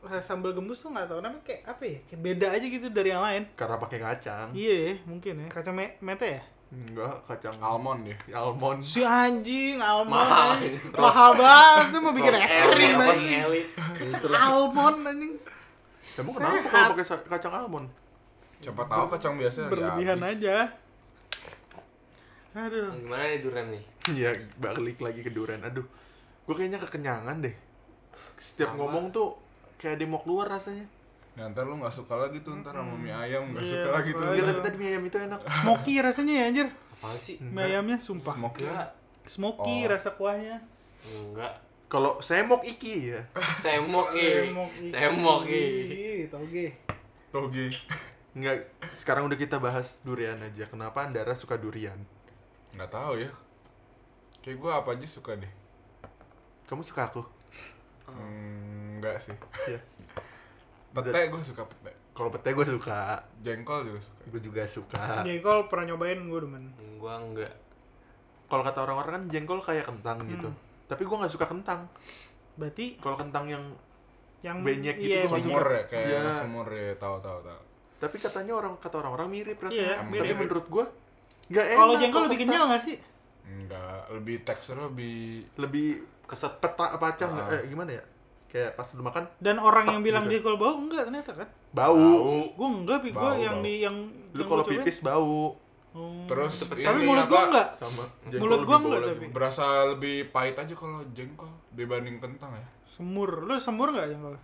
[SPEAKER 2] rasa sambal gembus tuh nggak tahu namanya kayak apa ya? Kayak beda aja gitu dari yang lain.
[SPEAKER 4] Karena pakai kacang.
[SPEAKER 2] Iya ya, mungkin ya. Kacang me- mete ya?
[SPEAKER 4] Enggak, kacang
[SPEAKER 1] Almond ya.
[SPEAKER 4] almond.
[SPEAKER 2] Si anjing almond. [LAUGHS]
[SPEAKER 3] Mahal.
[SPEAKER 2] anjing. Mahal banget tuh mau bikin
[SPEAKER 4] Roast.
[SPEAKER 2] es krim
[SPEAKER 3] Elit,
[SPEAKER 2] anjing.
[SPEAKER 3] elit.
[SPEAKER 2] Kacang almond anjing.
[SPEAKER 4] Emang kenapa
[SPEAKER 2] Sehat.
[SPEAKER 4] kalau pakai sa- kacang almond? [LAUGHS]
[SPEAKER 1] Siapa tahu kacang biasa
[SPEAKER 2] Berlebihan aja. Aduh.
[SPEAKER 3] Gimana nih durian nih?
[SPEAKER 4] Iya, balik lagi ke durian. Aduh, gue kayaknya kekenyangan deh. Setiap
[SPEAKER 3] Sama.
[SPEAKER 4] ngomong tuh kayak ada yang mau keluar rasanya.
[SPEAKER 1] Nah, ntar lu nggak suka lagi tuh ntar sama mie ayam nggak
[SPEAKER 2] Iya,
[SPEAKER 1] suka lagi
[SPEAKER 2] suka
[SPEAKER 1] tuh.
[SPEAKER 2] lagi.
[SPEAKER 4] Iya,
[SPEAKER 1] Iya,
[SPEAKER 4] tapi tadi mie ayam itu enak.
[SPEAKER 2] Smoky rasanya ya anjir.
[SPEAKER 3] Apaan sih?
[SPEAKER 2] Mie ayamnya sumpah.
[SPEAKER 1] Smoky.
[SPEAKER 3] Enggak.
[SPEAKER 2] Smoky
[SPEAKER 1] Oh.
[SPEAKER 2] rasa kuahnya.
[SPEAKER 3] Enggak.
[SPEAKER 4] Kalau semok iki ya.
[SPEAKER 3] Semok nih. Semok nih.
[SPEAKER 2] Ih, Toge.
[SPEAKER 1] Toge.
[SPEAKER 4] Enggak, sekarang udah kita bahas durian aja. Kenapa Andara suka durian?
[SPEAKER 1] Nggak tahu ya. Kayak gua apa aja suka deh.
[SPEAKER 4] Kamu suka aku?
[SPEAKER 1] Hmm, enggak sih. [LAUGHS]
[SPEAKER 4] Iya.
[SPEAKER 1] Pete gua suka pete.
[SPEAKER 4] Kalau pete gue suka.
[SPEAKER 1] Jengkol juga suka.
[SPEAKER 4] Gue juga suka.
[SPEAKER 2] Jengkol pernah nyobain gue demen.
[SPEAKER 3] Gua enggak.
[SPEAKER 4] Kalau kata orang-orang kan jengkol kayak kentang gitu.
[SPEAKER 2] Hmm.
[SPEAKER 4] Tapi gue nggak suka kentang.
[SPEAKER 2] Berarti
[SPEAKER 4] Kalau kentang yang
[SPEAKER 2] yang
[SPEAKER 4] Benyek gitu
[SPEAKER 2] iya,
[SPEAKER 4] gua nggak
[SPEAKER 2] benyek.
[SPEAKER 1] Sumur ya kayak
[SPEAKER 4] Iya.
[SPEAKER 1] sumur ya tahu tahu tahu.
[SPEAKER 4] tapi katanya orang kata orang-orang mirip
[SPEAKER 2] Iya,
[SPEAKER 4] rasanya. Tapi
[SPEAKER 1] mirip.
[SPEAKER 4] menurut gue nggak enak.
[SPEAKER 2] Kalau jengkol lebih
[SPEAKER 4] kentang.
[SPEAKER 2] kenyal nggak sih?
[SPEAKER 1] Enggak, lebih teksturnya lebih
[SPEAKER 4] Lebih
[SPEAKER 3] Keset.
[SPEAKER 4] peta pacah nggak?
[SPEAKER 1] Ah.
[SPEAKER 4] eh, gimana ya kayak pas lu makan
[SPEAKER 2] Dan orang yang
[SPEAKER 4] Tek
[SPEAKER 2] bilang
[SPEAKER 4] gitu.
[SPEAKER 2] jengkol bau enggak ternyata kan?
[SPEAKER 4] bau,
[SPEAKER 2] Gue enggak, pi gue
[SPEAKER 1] Bau,
[SPEAKER 2] yang
[SPEAKER 1] bau.
[SPEAKER 2] di yang
[SPEAKER 4] lu
[SPEAKER 2] yang
[SPEAKER 4] kalau
[SPEAKER 2] gua cobain.
[SPEAKER 4] pipis bau
[SPEAKER 2] Oh.
[SPEAKER 1] terus
[SPEAKER 3] Tapi
[SPEAKER 1] ini
[SPEAKER 2] tapi mulut
[SPEAKER 1] apa,
[SPEAKER 2] gue enggak.
[SPEAKER 4] sama
[SPEAKER 2] Mulut
[SPEAKER 4] lebih
[SPEAKER 2] gua
[SPEAKER 4] bau
[SPEAKER 2] nggak
[SPEAKER 4] lagi.
[SPEAKER 2] tapi.
[SPEAKER 1] berasa lebih pahit aja kalau jengkol dibanding kentang ya
[SPEAKER 2] Semur. Lu semur enggak jengkol?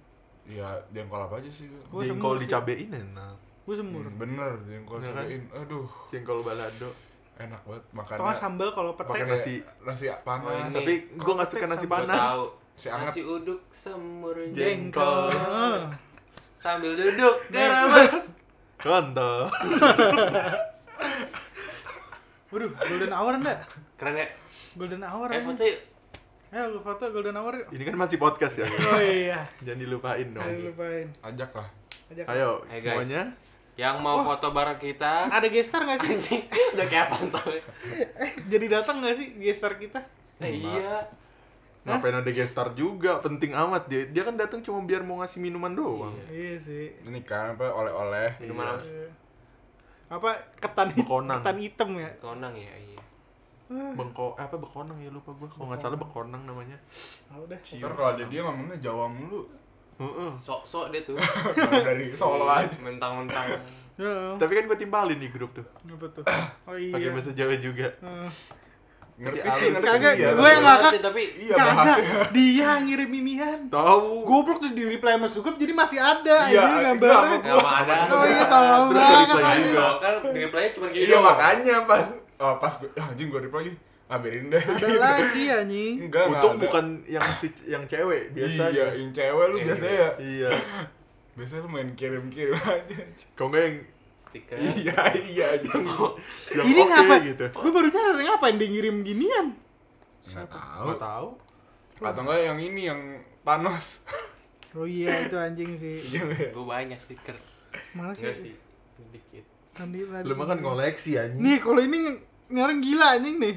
[SPEAKER 1] ya jengkol apa aja sih
[SPEAKER 2] Gua
[SPEAKER 4] jengkol
[SPEAKER 2] semur sih.
[SPEAKER 4] dicabein enak
[SPEAKER 2] gue semur
[SPEAKER 1] Hmm, bener jengkol
[SPEAKER 4] Ya kan?
[SPEAKER 1] cobain aduh
[SPEAKER 4] jengkol balado
[SPEAKER 1] enak banget makannya
[SPEAKER 2] atau sambal kalau
[SPEAKER 4] Pakai
[SPEAKER 2] pete
[SPEAKER 1] kayak
[SPEAKER 4] nasi.
[SPEAKER 1] nasi panas
[SPEAKER 3] Oh, ini.
[SPEAKER 4] tapi gue nggak suka
[SPEAKER 2] Kotek
[SPEAKER 4] nasi
[SPEAKER 2] sambal.
[SPEAKER 4] panas
[SPEAKER 3] tahu
[SPEAKER 1] si anget
[SPEAKER 3] nasi uduk semur
[SPEAKER 4] Jeng.
[SPEAKER 2] jengkol
[SPEAKER 3] sambil duduk keramas
[SPEAKER 4] contoh
[SPEAKER 2] waduh golden hour ndak
[SPEAKER 3] keren ya
[SPEAKER 2] golden hour
[SPEAKER 3] eh
[SPEAKER 2] aja.
[SPEAKER 3] foto yuk
[SPEAKER 2] ayo lu foto golden hour yuk.
[SPEAKER 4] ini kan masih podcast ya
[SPEAKER 2] oh iya
[SPEAKER 4] jangan dilupain dong
[SPEAKER 2] ayo lupain
[SPEAKER 1] ajak lah
[SPEAKER 2] ajak
[SPEAKER 4] ayo
[SPEAKER 3] Ayo, guys.
[SPEAKER 4] semuanya
[SPEAKER 3] yang mau foto bareng kita
[SPEAKER 2] ada gestar nggak
[SPEAKER 3] [LAUGHS]
[SPEAKER 2] sih Eh,
[SPEAKER 3] anjing udah kayak pantau ya
[SPEAKER 2] jadi datang nggak sih gestar kita
[SPEAKER 3] Eh, iya
[SPEAKER 4] ngapain ada gestar juga penting amat dia dia kan datang cuma biar mau ngasih minuman doang
[SPEAKER 3] Iya.
[SPEAKER 2] iya sih
[SPEAKER 1] ini kan apa oleh-oleh
[SPEAKER 3] minuman apa?
[SPEAKER 2] Eh, apa ketan hit-
[SPEAKER 4] Bekonang.
[SPEAKER 2] ketan hitam ya
[SPEAKER 3] konang ya iya
[SPEAKER 4] bengko eh, apa bekonang ya lupa gue kalau nggak salah bekonang namanya
[SPEAKER 2] Ah, udah
[SPEAKER 1] ntar kalau ada dia ngomongnya Jawa mulu
[SPEAKER 4] Heeh.
[SPEAKER 3] sok-sok dia tuh
[SPEAKER 1] Kalau dari Solo aja
[SPEAKER 3] mentang-mentang
[SPEAKER 2] Ya,
[SPEAKER 4] tapi kan gue timpalin di grup tuh
[SPEAKER 2] apa tuh oh
[SPEAKER 4] pakai
[SPEAKER 2] iya
[SPEAKER 4] bahasa Jawa juga
[SPEAKER 2] Eh,
[SPEAKER 1] ngerti
[SPEAKER 4] Tapi
[SPEAKER 1] sih
[SPEAKER 4] halus.
[SPEAKER 1] ngerti
[SPEAKER 2] Kagak,
[SPEAKER 1] dia,
[SPEAKER 2] Iya, gue
[SPEAKER 1] tapi-
[SPEAKER 2] nggak- ngakak.
[SPEAKER 3] tapi
[SPEAKER 1] iya
[SPEAKER 2] kagak
[SPEAKER 1] bahasnya
[SPEAKER 2] dia ngirim inian
[SPEAKER 4] tahu
[SPEAKER 2] goblok terus di reply sama Sugap jadi masih ada
[SPEAKER 1] Iya,
[SPEAKER 2] iya,
[SPEAKER 1] iya,
[SPEAKER 2] gambarnya
[SPEAKER 1] sama
[SPEAKER 3] nggak mau ada
[SPEAKER 2] oh iya tolong
[SPEAKER 4] Terus
[SPEAKER 2] banget
[SPEAKER 4] reply
[SPEAKER 2] anjing.
[SPEAKER 4] juga.
[SPEAKER 3] kan reply-nya cuma gini
[SPEAKER 1] iya
[SPEAKER 3] doang.
[SPEAKER 1] makanya pas oh, pas gue ah, anjing gue reply lagi ah biarin deh
[SPEAKER 2] ada lagi anjing
[SPEAKER 1] enggak enggak
[SPEAKER 4] untung
[SPEAKER 1] ada.
[SPEAKER 4] bukan yang si- yang cewek
[SPEAKER 1] iya
[SPEAKER 4] biasanya
[SPEAKER 1] yang cewek lu
[SPEAKER 3] Iya.
[SPEAKER 1] biasanya ya
[SPEAKER 4] iya
[SPEAKER 1] biasanya lu main kirim-kirim aja
[SPEAKER 4] kalau nggak yang
[SPEAKER 3] stiker
[SPEAKER 1] iya iya aja
[SPEAKER 4] yang
[SPEAKER 2] ini
[SPEAKER 4] oke
[SPEAKER 2] ngapain
[SPEAKER 4] gitu
[SPEAKER 2] gue baru nyadar nih ngapain dia ngirim ginian
[SPEAKER 1] nggak tahu
[SPEAKER 4] nggak tahu
[SPEAKER 1] atau enggak yang ini yang Thanos [LAUGHS]
[SPEAKER 2] oh iya itu anjing sih
[SPEAKER 1] iya nggak ya?
[SPEAKER 3] gue banyak stiker
[SPEAKER 2] malah
[SPEAKER 3] enggak
[SPEAKER 2] sih
[SPEAKER 3] sih dikit
[SPEAKER 2] tadi
[SPEAKER 4] lu mah kan koleksi anjing
[SPEAKER 2] nih kalau ini ng- ini orang gila anjing nih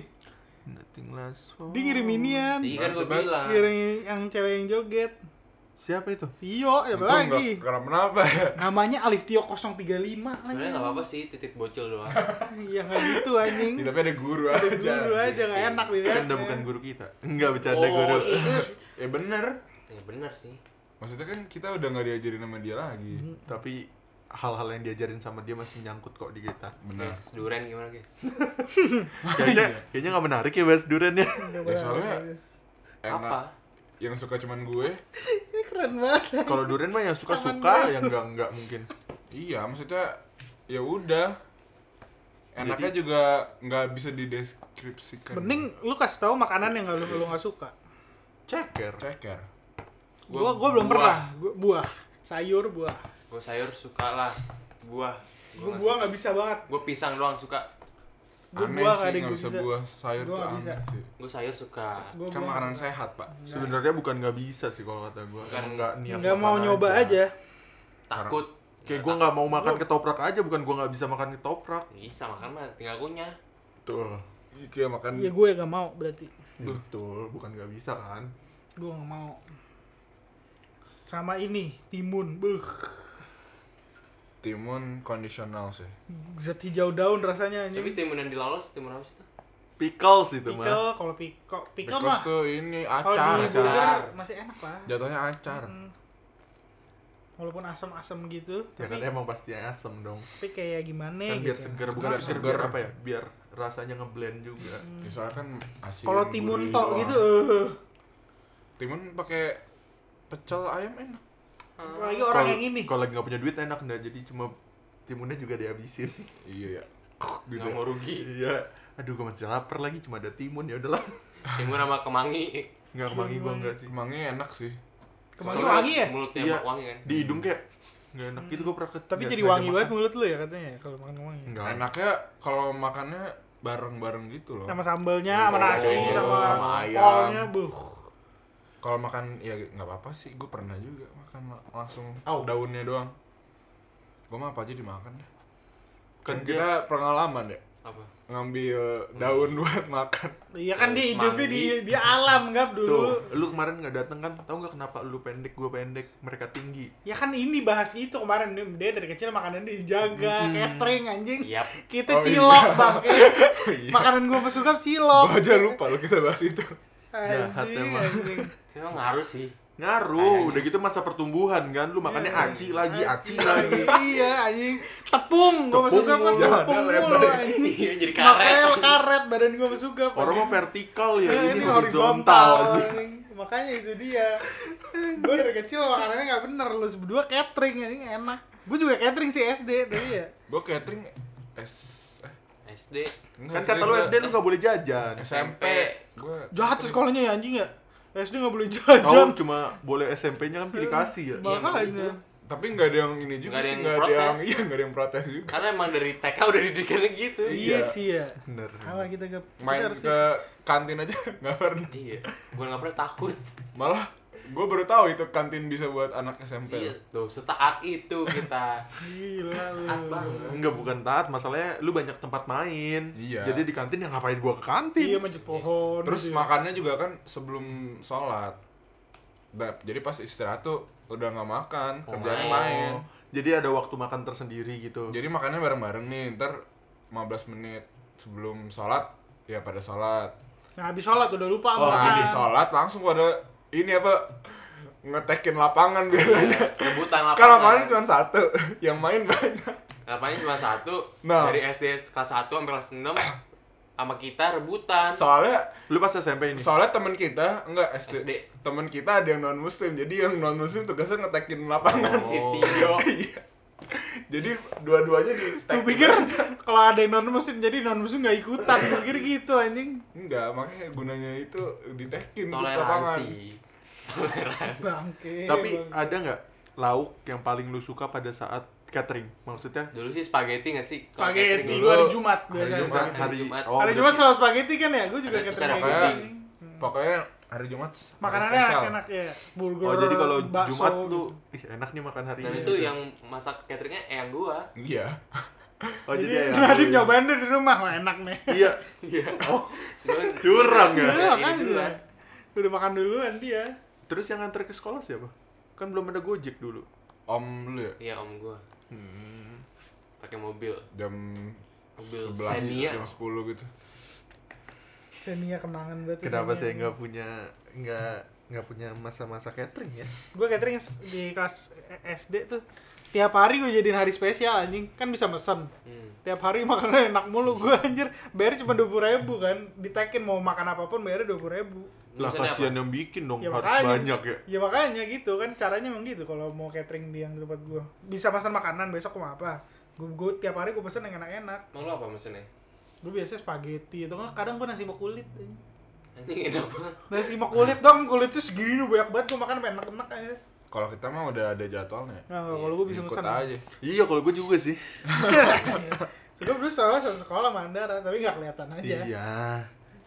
[SPEAKER 4] nothing last
[SPEAKER 2] dia ngirim inian
[SPEAKER 3] iya kan gue
[SPEAKER 1] Coba.
[SPEAKER 3] bilang
[SPEAKER 2] ngirim yang cewek yang joget
[SPEAKER 4] siapa itu
[SPEAKER 2] Tio ya apa
[SPEAKER 1] Untung nggak
[SPEAKER 2] lagi
[SPEAKER 1] kenapa-napa ya
[SPEAKER 2] namanya Alif Tio 035
[SPEAKER 3] sebenarnya
[SPEAKER 2] anjing
[SPEAKER 3] nggak apa-apa sih titik bocil
[SPEAKER 1] [LAUGHS]
[SPEAKER 3] doang
[SPEAKER 2] ya nggak gitu anjing
[SPEAKER 1] Ya, tapi ada guru aja
[SPEAKER 2] dulu aja nggak enak dilihat
[SPEAKER 4] kan udah bukan guru kita enggak bercanda
[SPEAKER 3] Oh,
[SPEAKER 4] guru [LAUGHS] Eh,
[SPEAKER 3] iya.
[SPEAKER 1] ya bener
[SPEAKER 3] ya benar sih
[SPEAKER 1] maksudnya kan kita udah nggak diajarin sama dia lagi
[SPEAKER 2] Hmm.
[SPEAKER 4] tapi hal-hal yang diajarin sama dia masih nyangkut kok di kita
[SPEAKER 1] bener
[SPEAKER 3] guys duren gimana guys
[SPEAKER 4] kayaknya kayaknya nggak menarik ya bahas durian ya
[SPEAKER 1] Ya, soalnya enak
[SPEAKER 3] apa
[SPEAKER 1] yang suka cuman gue
[SPEAKER 2] ini keren banget
[SPEAKER 4] kalau durian mah yang suka suka yang enggak enggak mungkin
[SPEAKER 1] iya maksudnya ya udah enaknya juga nggak bisa dideskripsikan
[SPEAKER 2] mending lu kasih tahu makanan yang nggak lu lu nggak suka
[SPEAKER 4] ceker
[SPEAKER 1] ceker
[SPEAKER 2] gua gua belum
[SPEAKER 3] buah.
[SPEAKER 2] pernah gua buah sayur buah
[SPEAKER 3] gua sayur suka lah buah
[SPEAKER 2] gua buah nggak bisa banget
[SPEAKER 3] gue pisang doang suka
[SPEAKER 2] gua
[SPEAKER 1] aneh
[SPEAKER 2] buah
[SPEAKER 1] sih
[SPEAKER 2] nggak ada yang
[SPEAKER 1] nggak
[SPEAKER 2] gua
[SPEAKER 1] bisa
[SPEAKER 2] bisa
[SPEAKER 1] buah sayur
[SPEAKER 2] Gua
[SPEAKER 1] tuh
[SPEAKER 2] nggak
[SPEAKER 1] aneh
[SPEAKER 2] bisa.
[SPEAKER 1] sih
[SPEAKER 3] gue sayur suka
[SPEAKER 2] Gua
[SPEAKER 1] kan
[SPEAKER 2] buah
[SPEAKER 1] makanan
[SPEAKER 2] nggak
[SPEAKER 1] sehat pak
[SPEAKER 4] sebenarnya bukan nggak bisa sih kalau kata gue
[SPEAKER 3] Bukan.
[SPEAKER 4] enggak
[SPEAKER 2] bisa.
[SPEAKER 4] niat
[SPEAKER 2] nggak mau
[SPEAKER 4] makan
[SPEAKER 2] nyoba aja
[SPEAKER 3] takut
[SPEAKER 4] kayak gue nggak mau makan ketoprak aja bukan gue nggak bisa makan ketoprak
[SPEAKER 3] bisa makan mah tinggal kunyah
[SPEAKER 4] betul
[SPEAKER 1] Iya, kayak
[SPEAKER 4] Kan
[SPEAKER 1] makan
[SPEAKER 2] ya gue nggak mau berarti
[SPEAKER 4] betul bukan nggak bisa kan
[SPEAKER 2] gua nggak mau sama ini timun beuh
[SPEAKER 1] timun kondisional sih
[SPEAKER 2] zat hijau daun rasanya
[SPEAKER 3] tapi
[SPEAKER 2] anjing
[SPEAKER 3] timun yang dilalos timun apa sih itu
[SPEAKER 4] pickles itu mah
[SPEAKER 2] pickle kalau pickle pickle
[SPEAKER 1] Because
[SPEAKER 2] mah
[SPEAKER 1] tuh ini acar
[SPEAKER 2] kalau di
[SPEAKER 1] acar.
[SPEAKER 2] burger
[SPEAKER 3] acar.
[SPEAKER 2] masih enak lah
[SPEAKER 1] jatuhnya acar
[SPEAKER 2] Hmm. walaupun asam-asam gitu
[SPEAKER 4] ya kan
[SPEAKER 2] tapi,
[SPEAKER 4] emang pasti asem dong
[SPEAKER 2] tapi kayak gimana
[SPEAKER 4] kan biar
[SPEAKER 2] gitu.
[SPEAKER 4] segar bukan
[SPEAKER 1] Bukan
[SPEAKER 4] segar
[SPEAKER 1] segar.
[SPEAKER 4] biar apa ya biar rasanya ngeblend juga
[SPEAKER 1] Ya, soalnya kan asin
[SPEAKER 2] kalau timun
[SPEAKER 1] gurih
[SPEAKER 2] tok
[SPEAKER 1] doang.
[SPEAKER 2] gitu eh.
[SPEAKER 1] timun pakai pecel ayam enak
[SPEAKER 2] apalagi orang
[SPEAKER 4] Kalau-
[SPEAKER 2] yang ini
[SPEAKER 4] kalau lagi nggak punya duit enak nggak jadi cuma timunnya juga dihabisin
[SPEAKER 1] iya ya
[SPEAKER 3] nggak mau rugi
[SPEAKER 4] iya aduh gue masih lapar lagi cuma ada timun ya udahlah
[SPEAKER 3] timun sama kemangi
[SPEAKER 4] nggak
[SPEAKER 2] Iya,
[SPEAKER 4] kemangi gue nggak sih
[SPEAKER 1] kemangnya enak sih
[SPEAKER 2] kemangi
[SPEAKER 3] Soalnya
[SPEAKER 2] wangi ya
[SPEAKER 3] mulutnya
[SPEAKER 4] Iya.
[SPEAKER 3] wangi kan
[SPEAKER 4] di hidung kayak nggak enak gitu gue pernah ke-
[SPEAKER 2] tapi
[SPEAKER 4] nggak
[SPEAKER 2] jadi
[SPEAKER 4] sengaja
[SPEAKER 2] wangi banget
[SPEAKER 4] makan.
[SPEAKER 2] mulut lu ya katanya ya kalau makan wangi
[SPEAKER 4] nggak enak
[SPEAKER 1] enaknya kalau makannya bareng-bareng gitu loh
[SPEAKER 2] sama sambalnya
[SPEAKER 1] Sama
[SPEAKER 2] sama nasi
[SPEAKER 1] sayur,
[SPEAKER 2] sama
[SPEAKER 1] sama ayam.
[SPEAKER 2] kolnya buh
[SPEAKER 1] kalau makan ya nggak apa-apa sih gue pernah juga makan la- langsung Oh,
[SPEAKER 4] Au.
[SPEAKER 1] daunnya doang gue mah apa aja dimakan deh kan
[SPEAKER 4] kan dia
[SPEAKER 1] kita pengalaman ya
[SPEAKER 3] apa
[SPEAKER 1] ngambil daun [LAUGHS] buat makan
[SPEAKER 2] iya kan dia
[SPEAKER 3] Terus
[SPEAKER 2] hidupnya di
[SPEAKER 3] mandi.
[SPEAKER 2] di alam gap dulu
[SPEAKER 4] tuh lu kemarin nggak dateng kan tau nggak kenapa lu pendek gue pendek mereka tinggi
[SPEAKER 2] ya kan ini bahas itu kemarin dia dia dari kecil makanannya dijaga catering anjing
[SPEAKER 3] Yap.
[SPEAKER 1] Oh,
[SPEAKER 2] kita
[SPEAKER 1] iya.
[SPEAKER 2] cilok bangke
[SPEAKER 1] Iya.
[SPEAKER 2] makanan gua masuk
[SPEAKER 1] gue
[SPEAKER 2] cilok
[SPEAKER 1] aja lupa lo kita bahas itu
[SPEAKER 4] Jahat
[SPEAKER 2] Anjing,
[SPEAKER 4] emang.
[SPEAKER 2] anjing.
[SPEAKER 3] emang harus sih
[SPEAKER 4] ngaruh udah gitu masa pertumbuhan kan lu makannya
[SPEAKER 2] Iya.
[SPEAKER 4] aci lagi aci lagi
[SPEAKER 2] iya anjing tepung gue masuk kan
[SPEAKER 4] Tepung,
[SPEAKER 1] jangan
[SPEAKER 2] tepung
[SPEAKER 1] ada
[SPEAKER 2] mulu
[SPEAKER 1] lebar.
[SPEAKER 2] anjing
[SPEAKER 3] [LAUGHS] iya jadi karet
[SPEAKER 2] makanya karet badan gue masuk
[SPEAKER 4] orang mau vertikal ya
[SPEAKER 2] Iya, Eh, ini
[SPEAKER 4] ini
[SPEAKER 2] horizontal
[SPEAKER 4] horizontal
[SPEAKER 2] anjing. makanya itu dia gue dari kecil makanannya nggak bener lu berdua catering anjing enak gue juga catering sih SD tapi ya
[SPEAKER 1] Gue catering S eh,
[SPEAKER 3] SD
[SPEAKER 1] enggak,
[SPEAKER 4] Kan kata lu
[SPEAKER 1] gua
[SPEAKER 4] SD lu gak boleh jajan.
[SPEAKER 1] SMP. Gue
[SPEAKER 2] jahat tuh sekolahnya ya anjing ya SD nggak boleh
[SPEAKER 4] Tahu
[SPEAKER 1] Oh,
[SPEAKER 2] jajan
[SPEAKER 4] cuma boleh SMP-nya kan pilih kasih ya.
[SPEAKER 3] Iya, emang gitu.
[SPEAKER 2] makanya
[SPEAKER 1] tapi nggak ada yang ini juga
[SPEAKER 3] Nggak ada
[SPEAKER 1] sih,
[SPEAKER 3] yang
[SPEAKER 1] nggak ada yang
[SPEAKER 3] protes.
[SPEAKER 1] iya nggak ada yang protes juga.
[SPEAKER 3] Karena emang dari TK udah didikannya gitu
[SPEAKER 2] iya sih ya
[SPEAKER 4] Bener.
[SPEAKER 2] salah kita ke kita
[SPEAKER 1] Main
[SPEAKER 2] harus
[SPEAKER 1] ke kantin aja [LAUGHS] nggak pernah.
[SPEAKER 3] Iya Gue gak pernah takut
[SPEAKER 1] Malah gue baru tahu itu kantin bisa buat anak SMP.
[SPEAKER 3] Iya Tuh setaat itu kita
[SPEAKER 2] gila lu
[SPEAKER 3] Taat banget
[SPEAKER 4] Enggak bukan taat, masalahnya lu banyak tempat main.
[SPEAKER 1] Iya.
[SPEAKER 4] Jadi di kantin ya ngapain gua ke
[SPEAKER 2] iya
[SPEAKER 4] kantin?
[SPEAKER 2] manjat pohon
[SPEAKER 1] Terus
[SPEAKER 2] gitu ya.
[SPEAKER 1] makannya juga kan sebelum sholat. Nah, Jadi pas istirahat tuh udah nggak makan,
[SPEAKER 4] Oh,
[SPEAKER 1] kerjanya
[SPEAKER 3] main.
[SPEAKER 1] main.
[SPEAKER 4] Jadi ada waktu makan tersendiri gitu.
[SPEAKER 1] Jadi makannya bareng-bareng nih, ntar 15 menit sebelum sholat, ya pada sholat.
[SPEAKER 2] nah habis sholat udah lupa
[SPEAKER 1] Oh,
[SPEAKER 2] makan.
[SPEAKER 1] habis sholat langsung pada ini apa ngetekin lapangan biasanya. Kan
[SPEAKER 3] Rebutan lapangan
[SPEAKER 1] lapangannya cuma satu, yang main banyak.
[SPEAKER 3] Lapangannya cuma satu
[SPEAKER 1] Nah.
[SPEAKER 3] Dari SD kelas 1 sampai kelas 6 Sama kita rebutan
[SPEAKER 1] Soalnya
[SPEAKER 4] Lu pas SMP ini.
[SPEAKER 1] soalnya teman kita enggak SD,
[SPEAKER 3] SD.
[SPEAKER 1] teman kita ada yang non muslim, jadi yang non muslim tugasnya ngetekin lapangan.
[SPEAKER 3] Si Tio
[SPEAKER 1] Iya. jadi dua-duanya di
[SPEAKER 2] Lu pikir kalau ada yang non muslim jadi non muslim nggak ikutan gue pikir gitu anjing
[SPEAKER 1] enggak makanya gunanya itu ditekin tuh lapangan
[SPEAKER 3] Toleransi Toleransi
[SPEAKER 2] bangke
[SPEAKER 4] Tapi
[SPEAKER 2] bangke.
[SPEAKER 4] ada nggak lauk yang paling lu suka pada saat catering? Maksudnya
[SPEAKER 3] Dulu sih spaghetti gak sih? Kalau
[SPEAKER 2] Spaghetti.
[SPEAKER 3] catering
[SPEAKER 2] Dulu hari Jumat biasanya.
[SPEAKER 1] hari Jumat,
[SPEAKER 3] Hari Jumat.
[SPEAKER 4] Oh,
[SPEAKER 2] hari
[SPEAKER 4] berarti-
[SPEAKER 2] cuma selalu spaghetti kan ya gue juga
[SPEAKER 3] Ada
[SPEAKER 2] catering
[SPEAKER 3] acara
[SPEAKER 2] kayak
[SPEAKER 1] kayak-
[SPEAKER 2] gini.
[SPEAKER 1] pokoknya hari Jumat hari
[SPEAKER 2] makanannya
[SPEAKER 1] spesial.
[SPEAKER 2] enak-enak ya burger
[SPEAKER 4] Oh, jadi kalau
[SPEAKER 2] bakso, gitu.
[SPEAKER 4] Jumat lu ih enak nih makan hari
[SPEAKER 3] Dan
[SPEAKER 4] ini.
[SPEAKER 3] itu
[SPEAKER 4] gitu.
[SPEAKER 3] yang masak cateringnya eyang gua
[SPEAKER 1] iya
[SPEAKER 4] Oh, jadi
[SPEAKER 2] jadi,
[SPEAKER 4] ya.
[SPEAKER 2] Nadiem Iya, nyobain deh di rumah wah enak
[SPEAKER 4] [LAUGHS]
[SPEAKER 2] nih
[SPEAKER 4] Iya.
[SPEAKER 3] [LAUGHS] Iya
[SPEAKER 4] Curang ya?
[SPEAKER 2] iya
[SPEAKER 3] Ini
[SPEAKER 2] makanya
[SPEAKER 3] duluan
[SPEAKER 2] udah makan duluan dia
[SPEAKER 4] Terus yang nganter ke sekolah siapa? Kan belum ada Gojek dulu.
[SPEAKER 1] om dulu ya
[SPEAKER 3] Iya om gua pakai mobil
[SPEAKER 1] jam
[SPEAKER 3] Mobil
[SPEAKER 1] Hmm. sebelas
[SPEAKER 3] Xenia.
[SPEAKER 1] jam sepuluh gitu
[SPEAKER 2] Xenia kenangan banget
[SPEAKER 4] Kenapa saya nggak punya nggak nggak punya masa-masa catering ya?
[SPEAKER 2] gue catering di kelas SD tuh tiap hari gue jadiin hari spesial anjing kan bisa mesen
[SPEAKER 3] hmm.
[SPEAKER 2] tiap hari [LAUGHS] makanan enak mulu gue anjir bayar cuma dua ribu kan ditekin mau makan apapun bayarnya dua ribu
[SPEAKER 4] Lah
[SPEAKER 3] Lu pesannya
[SPEAKER 4] kasihan
[SPEAKER 3] apa?
[SPEAKER 4] yang bikin dong
[SPEAKER 2] Ya,
[SPEAKER 4] harus
[SPEAKER 2] makanya.
[SPEAKER 4] banyak ya.
[SPEAKER 2] ya makanya gitu kan caranya emang gitu kalau mau catering di yang tempat gue bisa pesan makanan besok mau apa gue tiap hari gue pesen yang enak-enak
[SPEAKER 3] Emang lu apa mesennya?
[SPEAKER 2] gue biasanya spaghetti atau nggak kadang gue nasi sama kulit anjing.
[SPEAKER 3] Anjing enak [LAUGHS] banget
[SPEAKER 2] nasi sama kulit dong kulit tuh segini banyak banget gue makan pengen enak-enak aja
[SPEAKER 1] kalau kita mah udah ada jadwalnya
[SPEAKER 2] nah kalau gue bisa
[SPEAKER 1] Ikut
[SPEAKER 2] pesan [LAUGHS]
[SPEAKER 1] aja
[SPEAKER 4] Iya kalau gue juga sih.
[SPEAKER 2] Sebelum dulu soalnya satu sekolah Mandara, tapi nggak kelihatan aja.
[SPEAKER 4] Iya.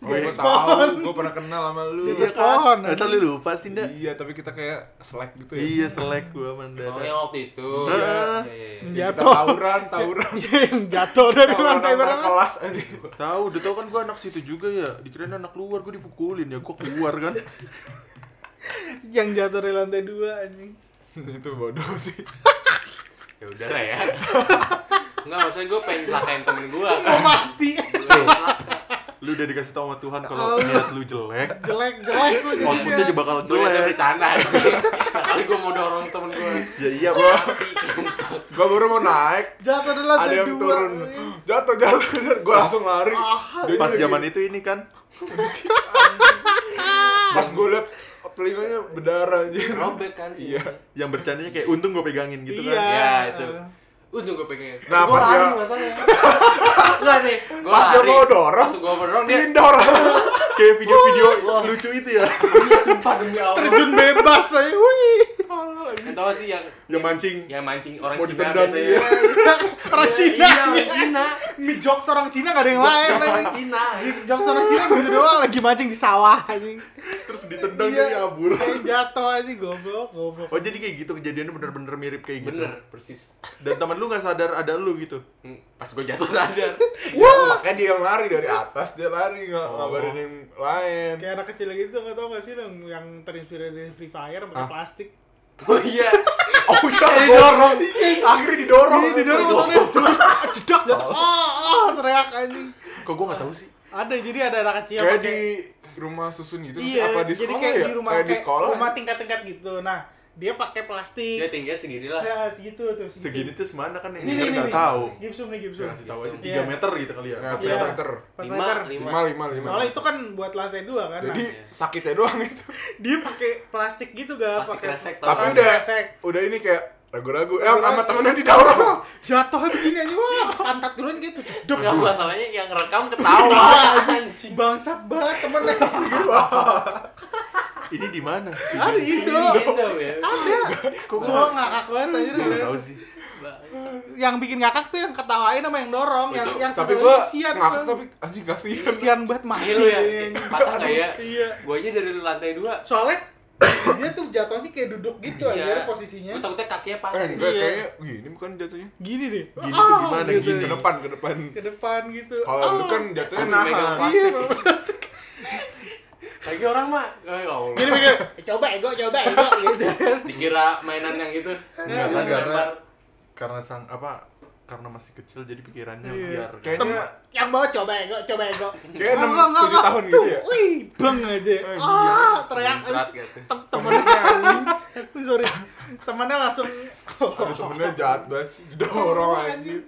[SPEAKER 1] oh, gue
[SPEAKER 2] Respon.
[SPEAKER 1] tahu gue pernah kenal sama lu
[SPEAKER 2] Iya, respon,
[SPEAKER 4] Masa
[SPEAKER 2] anjing.
[SPEAKER 4] lu lupa sih ndak?
[SPEAKER 1] iya tapi kita kayak selek gitu ya
[SPEAKER 4] Iya selek gue
[SPEAKER 3] Oh
[SPEAKER 4] mandara.
[SPEAKER 3] yang waktu itu
[SPEAKER 4] Nah.
[SPEAKER 3] Iya,
[SPEAKER 1] Jadi
[SPEAKER 3] iya, iya.
[SPEAKER 1] kita
[SPEAKER 2] Jatuh.
[SPEAKER 1] tawuran tawuran
[SPEAKER 2] Iya [LAUGHS] yang jatuh [LAUGHS] dari
[SPEAKER 1] Tawuran
[SPEAKER 2] lantai
[SPEAKER 1] antar
[SPEAKER 2] berapa?
[SPEAKER 1] kelas aja
[SPEAKER 4] Tahu, udah tau kan gue anak situ juga ya. Dikirain anak luar gue dipukulin ya gue keluar kan.
[SPEAKER 2] Yang jatuh dari lantai dua anjing.
[SPEAKER 1] [LAUGHS] itu bodoh sih iya.
[SPEAKER 3] Ya udah lah ya Enggak maksudnya gue pengen celakain temen
[SPEAKER 1] [LAUGHS]
[SPEAKER 3] gua
[SPEAKER 2] Oh mati.
[SPEAKER 4] Lu udah dikasih tau sama Tuhan
[SPEAKER 2] Oh.
[SPEAKER 4] kalau niat lu jelek,
[SPEAKER 2] jelek jelek lu
[SPEAKER 4] outputnya
[SPEAKER 2] jadinya.
[SPEAKER 4] juga bakal
[SPEAKER 3] Gue udah
[SPEAKER 4] jelek.
[SPEAKER 3] bercanda anjing Kali gue mau dorong temen gua
[SPEAKER 4] Ya iya bro.
[SPEAKER 1] gue baru mau naik
[SPEAKER 2] Jatuh dari
[SPEAKER 1] ada
[SPEAKER 2] lantai
[SPEAKER 1] yang
[SPEAKER 2] dua.
[SPEAKER 1] turun jatuh jatuh gue langsung lari Dia
[SPEAKER 4] Pas
[SPEAKER 1] juga
[SPEAKER 4] zaman itu ini kan.
[SPEAKER 1] pas gue liat telinganya berdarah aja
[SPEAKER 3] Robek kan sih
[SPEAKER 1] Iya.
[SPEAKER 4] Yang bercandanya kayak untung gue pegangin gitu
[SPEAKER 2] iya.
[SPEAKER 4] kan.
[SPEAKER 3] Ya itu Untung gue pengen
[SPEAKER 1] Nah,
[SPEAKER 3] Gua
[SPEAKER 1] pas
[SPEAKER 3] lari
[SPEAKER 1] dia-
[SPEAKER 3] masalahnya Enggak nih Gue
[SPEAKER 1] Pas dia
[SPEAKER 3] lari
[SPEAKER 1] mau dorong,
[SPEAKER 3] Pas gue mau dorong dia
[SPEAKER 1] pindah orang
[SPEAKER 4] Kayak video-video
[SPEAKER 3] Wah.
[SPEAKER 4] lucu itu ya.
[SPEAKER 3] Iya, Sumpah demi Allah
[SPEAKER 2] Terjun bebas aja. Wih.
[SPEAKER 3] Yang tau sih yang
[SPEAKER 4] Yang mancing.
[SPEAKER 3] yang mancing orang
[SPEAKER 4] Mau
[SPEAKER 3] Cina
[SPEAKER 4] ditendang,
[SPEAKER 3] biasanya
[SPEAKER 4] iya.
[SPEAKER 2] Orang Cina.
[SPEAKER 3] Iya, orang Cina.
[SPEAKER 2] Mi jokes orang Cina gak ada yang lain.
[SPEAKER 3] orang
[SPEAKER 2] anjing.
[SPEAKER 3] Cina.
[SPEAKER 2] Jokes orang Cina gitu doang lagi mancing di sawah anjing.
[SPEAKER 4] Terus ditendang
[SPEAKER 2] Iya.
[SPEAKER 4] jadi abur.
[SPEAKER 2] Yang jatuh anjing goblok goblok.
[SPEAKER 4] Oh jadi kayak gitu kejadiannya bener-bener mirip kayak gitu.
[SPEAKER 3] Bener, persis.
[SPEAKER 4] Dan teman lu nggak sadar ada lu gitu.
[SPEAKER 3] Hmm, Pas gue jatuh sadar. [LAUGHS]
[SPEAKER 1] makanya dia yang lari dari atas dia lari nggak
[SPEAKER 3] Oh.
[SPEAKER 1] ngabarin yang lain
[SPEAKER 2] Kayak anak kecil gitu nggak tau gak sih yang, yang terinspirasi dari Free Fire pakai
[SPEAKER 4] Ah.
[SPEAKER 2] plastik.
[SPEAKER 3] Oh iya.
[SPEAKER 1] oh iya didorong akhirnya didorong
[SPEAKER 2] Iya, didorong motornya jedak, jedak jatuh. Oh, oh, teriak anjing.
[SPEAKER 4] Kok gue nggak tahu sih.
[SPEAKER 2] Ada jadi ada anak kecil
[SPEAKER 1] kayak
[SPEAKER 2] pakai-
[SPEAKER 1] di rumah susun gitu
[SPEAKER 2] iya,
[SPEAKER 1] apa di
[SPEAKER 2] jadi
[SPEAKER 1] sekolah
[SPEAKER 2] kayak
[SPEAKER 1] ya
[SPEAKER 2] di rumah
[SPEAKER 1] kayak di
[SPEAKER 2] kayak
[SPEAKER 1] sekolah
[SPEAKER 2] rumah tingkat-tingkat gitu. Nah, dia pakai plastik
[SPEAKER 3] Dia tingginya segini lah.
[SPEAKER 2] ya segitu tuh
[SPEAKER 4] Segini tuh semana kan yang
[SPEAKER 2] Ini,
[SPEAKER 4] denger
[SPEAKER 2] ini,
[SPEAKER 4] nggak
[SPEAKER 2] ini.
[SPEAKER 4] tahu.
[SPEAKER 2] gipsum nih gipsum
[SPEAKER 4] Gua kasih tahu aja
[SPEAKER 3] Iya.
[SPEAKER 4] 3 meter gitu kali ya.
[SPEAKER 1] Nah,
[SPEAKER 4] Empat
[SPEAKER 2] Iya.
[SPEAKER 1] meter,
[SPEAKER 4] meter.
[SPEAKER 1] meter.
[SPEAKER 2] Empat
[SPEAKER 3] Lima,
[SPEAKER 2] meter.
[SPEAKER 3] lima.
[SPEAKER 1] Lima, lima, lima.
[SPEAKER 2] soalnya itu kan buat lantai dua kan Nah,
[SPEAKER 1] Jadi
[SPEAKER 3] Iya.
[SPEAKER 1] sakitnya doang itu.
[SPEAKER 2] dia pakai plastik gitu gak
[SPEAKER 3] Plastik kresek tau
[SPEAKER 1] Tapi
[SPEAKER 3] kan?
[SPEAKER 2] plastik
[SPEAKER 1] udah,
[SPEAKER 2] kresek.
[SPEAKER 1] udah ini kayak ragu-ragu. Eh,
[SPEAKER 2] Ragu-ragu.
[SPEAKER 1] sama temennya di dalam.
[SPEAKER 2] jatuhnya begini aja wah pantat duluan gitu jedep
[SPEAKER 3] Enggak masalahnya yang
[SPEAKER 2] [LAUGHS]
[SPEAKER 3] rekam
[SPEAKER 2] Iya,
[SPEAKER 3] ketawa anjing.
[SPEAKER 2] bangsat banget temennya
[SPEAKER 4] Ini di
[SPEAKER 2] [LAUGHS]
[SPEAKER 4] mana?
[SPEAKER 2] ada
[SPEAKER 3] Ini
[SPEAKER 2] Indo Ah.
[SPEAKER 3] Indo ya.
[SPEAKER 2] ada kok gua ngakak banget anjir
[SPEAKER 4] Gak tahu sih.
[SPEAKER 2] yang bikin ngakak tuh yang ketawain sama yang dorong yang
[SPEAKER 3] Betul.
[SPEAKER 2] yang
[SPEAKER 1] Tapi
[SPEAKER 2] satu
[SPEAKER 1] gua
[SPEAKER 2] lagi sian
[SPEAKER 1] ngakak
[SPEAKER 2] kan.
[SPEAKER 1] tapi anjing kasihan.
[SPEAKER 2] sian banget mati
[SPEAKER 3] Ini lu ya.
[SPEAKER 2] dia, anjing.
[SPEAKER 3] Patah enggak ya?
[SPEAKER 2] iya
[SPEAKER 3] Gua aja dari lantai 2.
[SPEAKER 2] soalnya dia tuh jatuhnya kayak duduk
[SPEAKER 3] Iya.
[SPEAKER 2] gitu aja posisinya
[SPEAKER 3] Gua takutnya kakinya patah.
[SPEAKER 1] Eh, enggak
[SPEAKER 2] Iya.
[SPEAKER 1] kayaknya gini bukan jatuhnya.
[SPEAKER 2] gini deh
[SPEAKER 4] Gini tuh
[SPEAKER 2] Ah,
[SPEAKER 4] gimana?
[SPEAKER 2] gitu.
[SPEAKER 1] Ke
[SPEAKER 4] Gini.
[SPEAKER 1] depan, ke depan.
[SPEAKER 2] ke depan gitu
[SPEAKER 1] Kalau lu
[SPEAKER 2] Ah.
[SPEAKER 1] kan jatuhnya
[SPEAKER 3] Sambil megang
[SPEAKER 1] nahan.
[SPEAKER 3] plastik.
[SPEAKER 2] iya plastik
[SPEAKER 3] Lagi orang mah. Ya Allah.
[SPEAKER 2] gini mikir Eh, coba ego coba ego [LAUGHS] gitu kan
[SPEAKER 3] Dikira mainan yang gitu. itu.
[SPEAKER 4] Enggak
[SPEAKER 2] Iya,
[SPEAKER 4] kan
[SPEAKER 3] Yang
[SPEAKER 4] karena
[SPEAKER 3] lempar.
[SPEAKER 4] karena sang apa karena masih kecil jadi pikirannya
[SPEAKER 2] Iya.
[SPEAKER 4] liar.
[SPEAKER 1] Kayaknya-
[SPEAKER 4] Tem-
[SPEAKER 2] yang bawa coba ego coba ego
[SPEAKER 1] Kayak
[SPEAKER 2] Enggak,
[SPEAKER 1] enam,
[SPEAKER 2] enggak, enggak,
[SPEAKER 1] tujuh
[SPEAKER 2] enggak.
[SPEAKER 1] tahun
[SPEAKER 2] Tuh,
[SPEAKER 1] gitu ya? Eh, iya.
[SPEAKER 2] wih bang aja ah teriak
[SPEAKER 3] Muncrat gitu.
[SPEAKER 2] Tem- temennya anjing. [LAUGHS] sorry temennya langsung "Oh,
[SPEAKER 1] Ada temennya jahat banget sih, didorong anjing.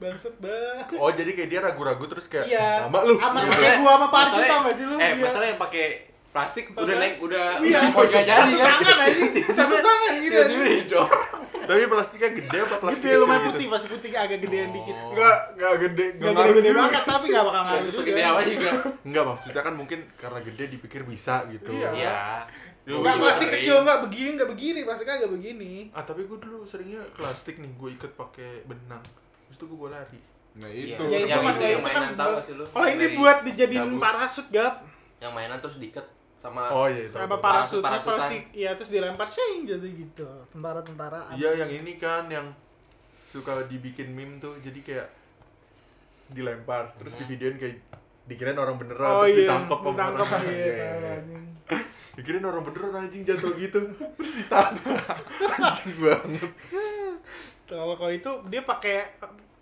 [SPEAKER 2] bangset banget
[SPEAKER 4] Oh jadi kayak dia ragu-ragu terus kayak
[SPEAKER 2] Iya.
[SPEAKER 4] sama lu.
[SPEAKER 2] Sama-
[SPEAKER 4] Iya.
[SPEAKER 2] Maksudnya gua sama Parji
[SPEAKER 3] Masalahnya-
[SPEAKER 2] tau gak sih lu?
[SPEAKER 3] Eh,
[SPEAKER 2] Iya.
[SPEAKER 3] masalah yang pakai plastik udah
[SPEAKER 2] Padahal-
[SPEAKER 3] naik udah
[SPEAKER 2] iya
[SPEAKER 3] mau gak jadi
[SPEAKER 2] satu
[SPEAKER 3] kan.
[SPEAKER 2] tangan aja satu tangan gitu
[SPEAKER 3] Iya,
[SPEAKER 2] anjing.
[SPEAKER 3] jadi didorong.
[SPEAKER 4] Tapi plastiknya gede apa plastik gitu.
[SPEAKER 2] gede lumayan
[SPEAKER 1] gitu.
[SPEAKER 2] putih pas putih agak gedean dikit
[SPEAKER 1] Enggak, enggak gede,
[SPEAKER 2] Gak
[SPEAKER 1] enggak Oh. ngaruh
[SPEAKER 2] gede-gede
[SPEAKER 1] juga.
[SPEAKER 2] banget, tapi gak bakal ngaruh
[SPEAKER 3] Terus
[SPEAKER 2] juga
[SPEAKER 3] segede apa juga.
[SPEAKER 4] Enggak maksudnya kan mungkin karena gede dipikir bisa gitu.
[SPEAKER 2] Iya.
[SPEAKER 3] Iya.
[SPEAKER 2] Enggak,
[SPEAKER 4] iya.
[SPEAKER 3] Dulu
[SPEAKER 2] plastik
[SPEAKER 3] sering.
[SPEAKER 2] kecil enggak begini, enggak begini, plastiknya agak begini
[SPEAKER 4] Ah tapi gue dulu seringnya plastik nih gue ikat pakai benang. Terus itu gue bawa lari.
[SPEAKER 1] Nah,
[SPEAKER 3] Iya,
[SPEAKER 1] itu.
[SPEAKER 2] Ya,
[SPEAKER 3] yang,
[SPEAKER 2] itu
[SPEAKER 3] yang,
[SPEAKER 2] mas
[SPEAKER 3] itu
[SPEAKER 2] kayak
[SPEAKER 3] yang
[SPEAKER 2] itu kan
[SPEAKER 3] mainan tahu gak sih lu?
[SPEAKER 2] Kalau ini
[SPEAKER 3] Dari
[SPEAKER 2] buat dijadiin
[SPEAKER 3] gabus.
[SPEAKER 2] parasut, Gap
[SPEAKER 3] yang mainan terus diikat sama
[SPEAKER 4] Oh iya itu.
[SPEAKER 2] Apa
[SPEAKER 3] Parasut,
[SPEAKER 2] parasutnya
[SPEAKER 3] parasutan.
[SPEAKER 2] plastik, ya terus dilempar, sing, jadi gitu Tentara-tentara
[SPEAKER 4] Iya yang ini kan yang suka dibikin meme tuh jadi kayak dilempar terus di videoin kayak dikirain orang beneran terus ditangkap sama
[SPEAKER 2] Oh, iya. ditangkap
[SPEAKER 4] orang.
[SPEAKER 2] iya,
[SPEAKER 4] Iya, iya,
[SPEAKER 2] tahu,
[SPEAKER 4] iya.
[SPEAKER 2] anjing.
[SPEAKER 4] Dikirain orang beneran anjing jatuh gitu terus ditangkap. [LAUGHS] Anjing banget.
[SPEAKER 2] Kalau kalau itu dia pakai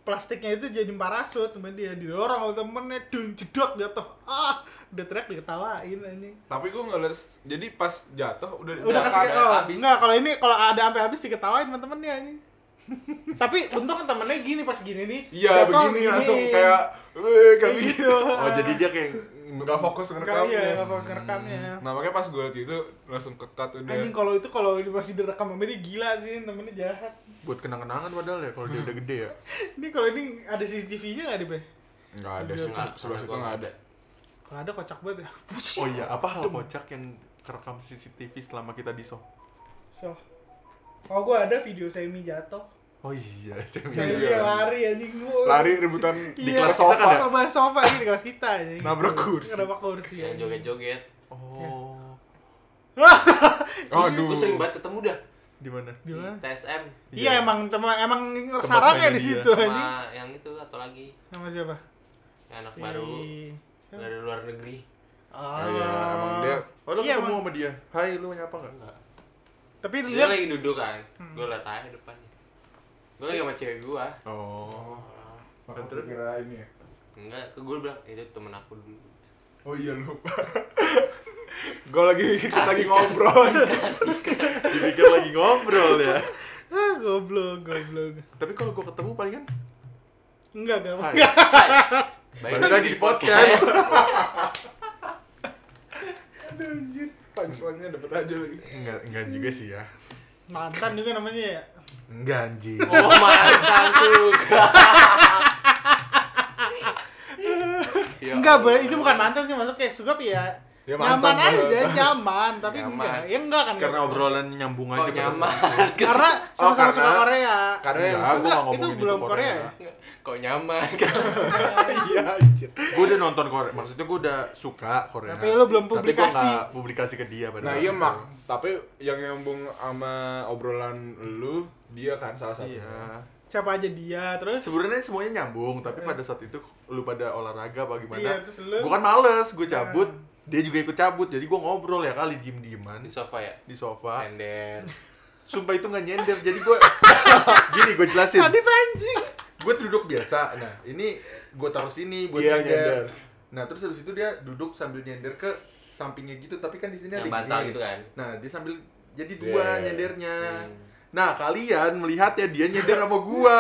[SPEAKER 2] plastiknya itu jadi parasut, temen dia didorong sama temennya, dung jedok jatuh, ah udah teriak diketawain anjing.
[SPEAKER 1] Tapi gua enggak lihat. Jadi pas jatuh udah
[SPEAKER 2] Udah kasih
[SPEAKER 3] ada
[SPEAKER 2] oh,
[SPEAKER 3] habis.
[SPEAKER 2] enggak kalau ini kalau ada sampai habis diketawain sama temennya anjing. [LAUGHS] Tapi untung kan temennya gini pas gini nih.
[SPEAKER 1] Iya,
[SPEAKER 2] jatuh,
[SPEAKER 1] begini langsung
[SPEAKER 2] giniin.
[SPEAKER 1] kayak eh
[SPEAKER 2] Kayak
[SPEAKER 1] kayak gitu.
[SPEAKER 2] gitu.
[SPEAKER 4] Oh jadi dia kayak
[SPEAKER 1] Enggak fokus
[SPEAKER 2] Enggak, iya,
[SPEAKER 1] ngerekamnya.
[SPEAKER 2] enggak fokus ngerekamnya.
[SPEAKER 1] Nah, makanya pas gua liat itu langsung ketat udah.
[SPEAKER 2] Anjing kalau itu kalau ini masih direkam sama dia gila sih, temennya jahat.
[SPEAKER 4] buat kenang-kenangan padahal ya kalau dia
[SPEAKER 2] Hmm.
[SPEAKER 4] udah gede ya.
[SPEAKER 2] Ini kalau ini ada CCTV-nya nggak nih, Be?
[SPEAKER 1] Enggak ada
[SPEAKER 2] Udah.
[SPEAKER 1] sih,
[SPEAKER 3] Nggak,
[SPEAKER 1] sebelah
[SPEAKER 3] karena
[SPEAKER 1] situ
[SPEAKER 3] gua
[SPEAKER 1] enggak
[SPEAKER 3] nggak
[SPEAKER 1] ada.
[SPEAKER 2] Kalau ada kocak banget
[SPEAKER 1] [LAUGHS]
[SPEAKER 2] ya.
[SPEAKER 4] Oh iya apa hal kocak yang kerekam CCTV selama kita di soh?
[SPEAKER 2] So. Oh, gua ada video Semi jatuh.
[SPEAKER 4] Oh iya, [LAUGHS]
[SPEAKER 2] Semi
[SPEAKER 1] Iya.
[SPEAKER 2] yang lari anjing gua.
[SPEAKER 1] Lari rebutan di
[SPEAKER 2] Iya,
[SPEAKER 1] kelas
[SPEAKER 2] kita kan
[SPEAKER 1] sofa. ya?
[SPEAKER 2] ada rebutan sofa ini di kelas kita anjing.
[SPEAKER 1] Nabrak kursi.
[SPEAKER 2] Nabrak kursi.
[SPEAKER 3] yang
[SPEAKER 2] anjing.
[SPEAKER 3] joget-joget.
[SPEAKER 4] Oh,
[SPEAKER 1] Aduh.
[SPEAKER 3] Gue sering banget ketemu dah
[SPEAKER 4] di mana?
[SPEAKER 2] Di mana?
[SPEAKER 3] TSM
[SPEAKER 2] Iya emang teman emang
[SPEAKER 4] mainnya
[SPEAKER 2] sarangnya di
[SPEAKER 4] dia.
[SPEAKER 2] situ anjing.
[SPEAKER 3] sama yang itu atau lagi
[SPEAKER 2] Sama siapa?
[SPEAKER 3] yang anak
[SPEAKER 2] Si-
[SPEAKER 3] baru
[SPEAKER 2] siapa?
[SPEAKER 3] dari luar negeri.
[SPEAKER 2] Ah.
[SPEAKER 1] Ah, Iya, emang dia
[SPEAKER 4] Oh lo
[SPEAKER 2] Iya,
[SPEAKER 4] ketemu
[SPEAKER 2] emang.
[SPEAKER 4] sama dia? Hai, lu nyapa nggak?
[SPEAKER 3] Enggak.
[SPEAKER 2] Tapi
[SPEAKER 3] Dia
[SPEAKER 2] lihat Hmm.
[SPEAKER 3] lagi duduk kan. Gue liat aja depannya. Gue lagi sama cewek gue.
[SPEAKER 4] Oh.
[SPEAKER 1] Aku kira ini ya.
[SPEAKER 3] Enggak, ke gue bilang itu temen aku dulu.
[SPEAKER 1] Oh iya lupa. gue lagi kita lagi
[SPEAKER 3] Asik
[SPEAKER 4] [LAUGHS]
[SPEAKER 3] kan?
[SPEAKER 1] ngobrol.
[SPEAKER 4] Dipikir lagi ngobrol ya.
[SPEAKER 2] ah goblok goblok.
[SPEAKER 4] Tapi kalau gua ketemu palingan
[SPEAKER 2] Enggak enggak.
[SPEAKER 4] Hai.
[SPEAKER 2] enggak.
[SPEAKER 4] balik lagi di podcast.
[SPEAKER 1] Aduh anjir. Punchline-nya dapet aja lagi. Ya,
[SPEAKER 4] Enggak enggak juga sih ya.
[SPEAKER 2] Mantan juga namanya ya.
[SPEAKER 4] Enggak anjing.
[SPEAKER 3] Oh mantan suka. Ya
[SPEAKER 2] Enggak, boleh
[SPEAKER 3] Allah.
[SPEAKER 2] itu bukan mantan sih masuk kayak sugap ya.
[SPEAKER 1] Ya,
[SPEAKER 2] nyaman
[SPEAKER 1] mantan,
[SPEAKER 2] aja,
[SPEAKER 1] mantan.
[SPEAKER 2] nyaman, tapi
[SPEAKER 3] Nyaman.
[SPEAKER 2] enggak. Ya enggak kan.
[SPEAKER 4] Karena obrolan nyambung
[SPEAKER 3] Kok
[SPEAKER 4] aja pada
[SPEAKER 3] nyaman?
[SPEAKER 4] saat itu.
[SPEAKER 2] karena sama-sama
[SPEAKER 1] karena-
[SPEAKER 2] suka Korea.
[SPEAKER 1] Karena yang
[SPEAKER 4] Enggak, gua
[SPEAKER 2] Enggak,
[SPEAKER 4] nggak
[SPEAKER 2] itu
[SPEAKER 4] ngomongin
[SPEAKER 2] belum Korea.
[SPEAKER 3] Kok nyaman?
[SPEAKER 1] [LAUGHS]
[SPEAKER 3] [LAUGHS] kan?
[SPEAKER 1] iya anjir.
[SPEAKER 4] Gua udah nonton Korea, maksudnya gua udah suka Korea.
[SPEAKER 2] Tapi lu belum
[SPEAKER 4] Tapi gua
[SPEAKER 2] publikasi.
[SPEAKER 4] nggak publikasi ke dia pada
[SPEAKER 1] Nah
[SPEAKER 4] saat
[SPEAKER 1] iya
[SPEAKER 4] itu.
[SPEAKER 1] mak, tapi yang nyambung sama obrolan lu dia kan salah satunya.
[SPEAKER 4] Iya.
[SPEAKER 2] Siapa aja dia terus
[SPEAKER 4] Sebenarnya semuanya nyambung, tapi pada saat itu lu pada olahraga apa gimana?
[SPEAKER 2] Iya, terus lu-
[SPEAKER 4] Gua kan males, gua cabut, dia juga ikut cabut. Jadi gua ngobrol ya kali diem-dieman
[SPEAKER 3] Di sofa ya?
[SPEAKER 4] di sofa.
[SPEAKER 3] Sender.
[SPEAKER 4] Sumpah itu nggak nyender, jadi gue gini gue jelasin.
[SPEAKER 2] tadi anjing.
[SPEAKER 4] Gue duduk biasa, nah ini gue taruh sini buat
[SPEAKER 1] Iya,
[SPEAKER 4] nyender.
[SPEAKER 1] nyender.
[SPEAKER 4] Nah terus habis itu dia duduk sambil nyender ke sampingnya gitu, tapi kan di sini ada
[SPEAKER 3] Yang bantal
[SPEAKER 4] gini.
[SPEAKER 3] gitu kan? Iya. Hmm.
[SPEAKER 4] Nah dia sambil jadi dua
[SPEAKER 1] Yeah.
[SPEAKER 4] nyendernya nah kalian melihat ya dia nyender sama gua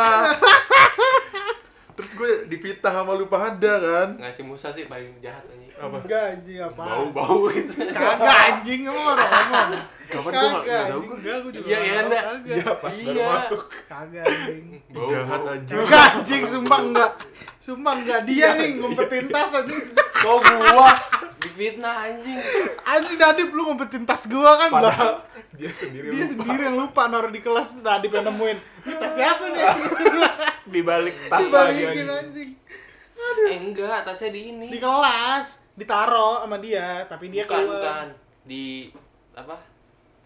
[SPEAKER 4] terus gue dipitah sama lu pada kan
[SPEAKER 3] ngasih Musa sih paling jahat anjing
[SPEAKER 4] apa
[SPEAKER 2] Enggak anjing apa?
[SPEAKER 3] bau bau gitu
[SPEAKER 2] [LAUGHS] Kagak anjing emang orang ngomong.
[SPEAKER 4] kapan gua nggak-
[SPEAKER 2] Kagak
[SPEAKER 4] nggak tahu
[SPEAKER 2] anjing,
[SPEAKER 4] gue
[SPEAKER 2] enggak gua juga.
[SPEAKER 3] Iya,
[SPEAKER 2] nggak
[SPEAKER 3] iya,
[SPEAKER 2] tahu,
[SPEAKER 3] enggak.
[SPEAKER 2] kagak.
[SPEAKER 1] pas baru
[SPEAKER 3] Iya.
[SPEAKER 1] masuk
[SPEAKER 2] Kagak anjing.
[SPEAKER 4] Ih, jahat anjing
[SPEAKER 2] Enggak anjing sumpah enggak. Sumpah enggak dia nih ngumpetin tas anjing.
[SPEAKER 3] kok gua difitnah anjing
[SPEAKER 2] Anjing Nadib lu ngumpetin tas gua kan
[SPEAKER 1] padahal
[SPEAKER 2] lah.
[SPEAKER 1] dia sendiri
[SPEAKER 2] Dia
[SPEAKER 1] lupa.
[SPEAKER 2] sendiri yang lupa naruh di kelas Nadib yang nemuin. Ini tas siapa nih?
[SPEAKER 1] dibalik [LAUGHS] tas lagi
[SPEAKER 2] Dibalikin
[SPEAKER 1] anjing.
[SPEAKER 2] anjing.
[SPEAKER 3] eh enggak tasnya di ini
[SPEAKER 2] Di kelas ditaro sama dia, tapi dia
[SPEAKER 3] bukan
[SPEAKER 2] keluar.
[SPEAKER 3] bukan di apa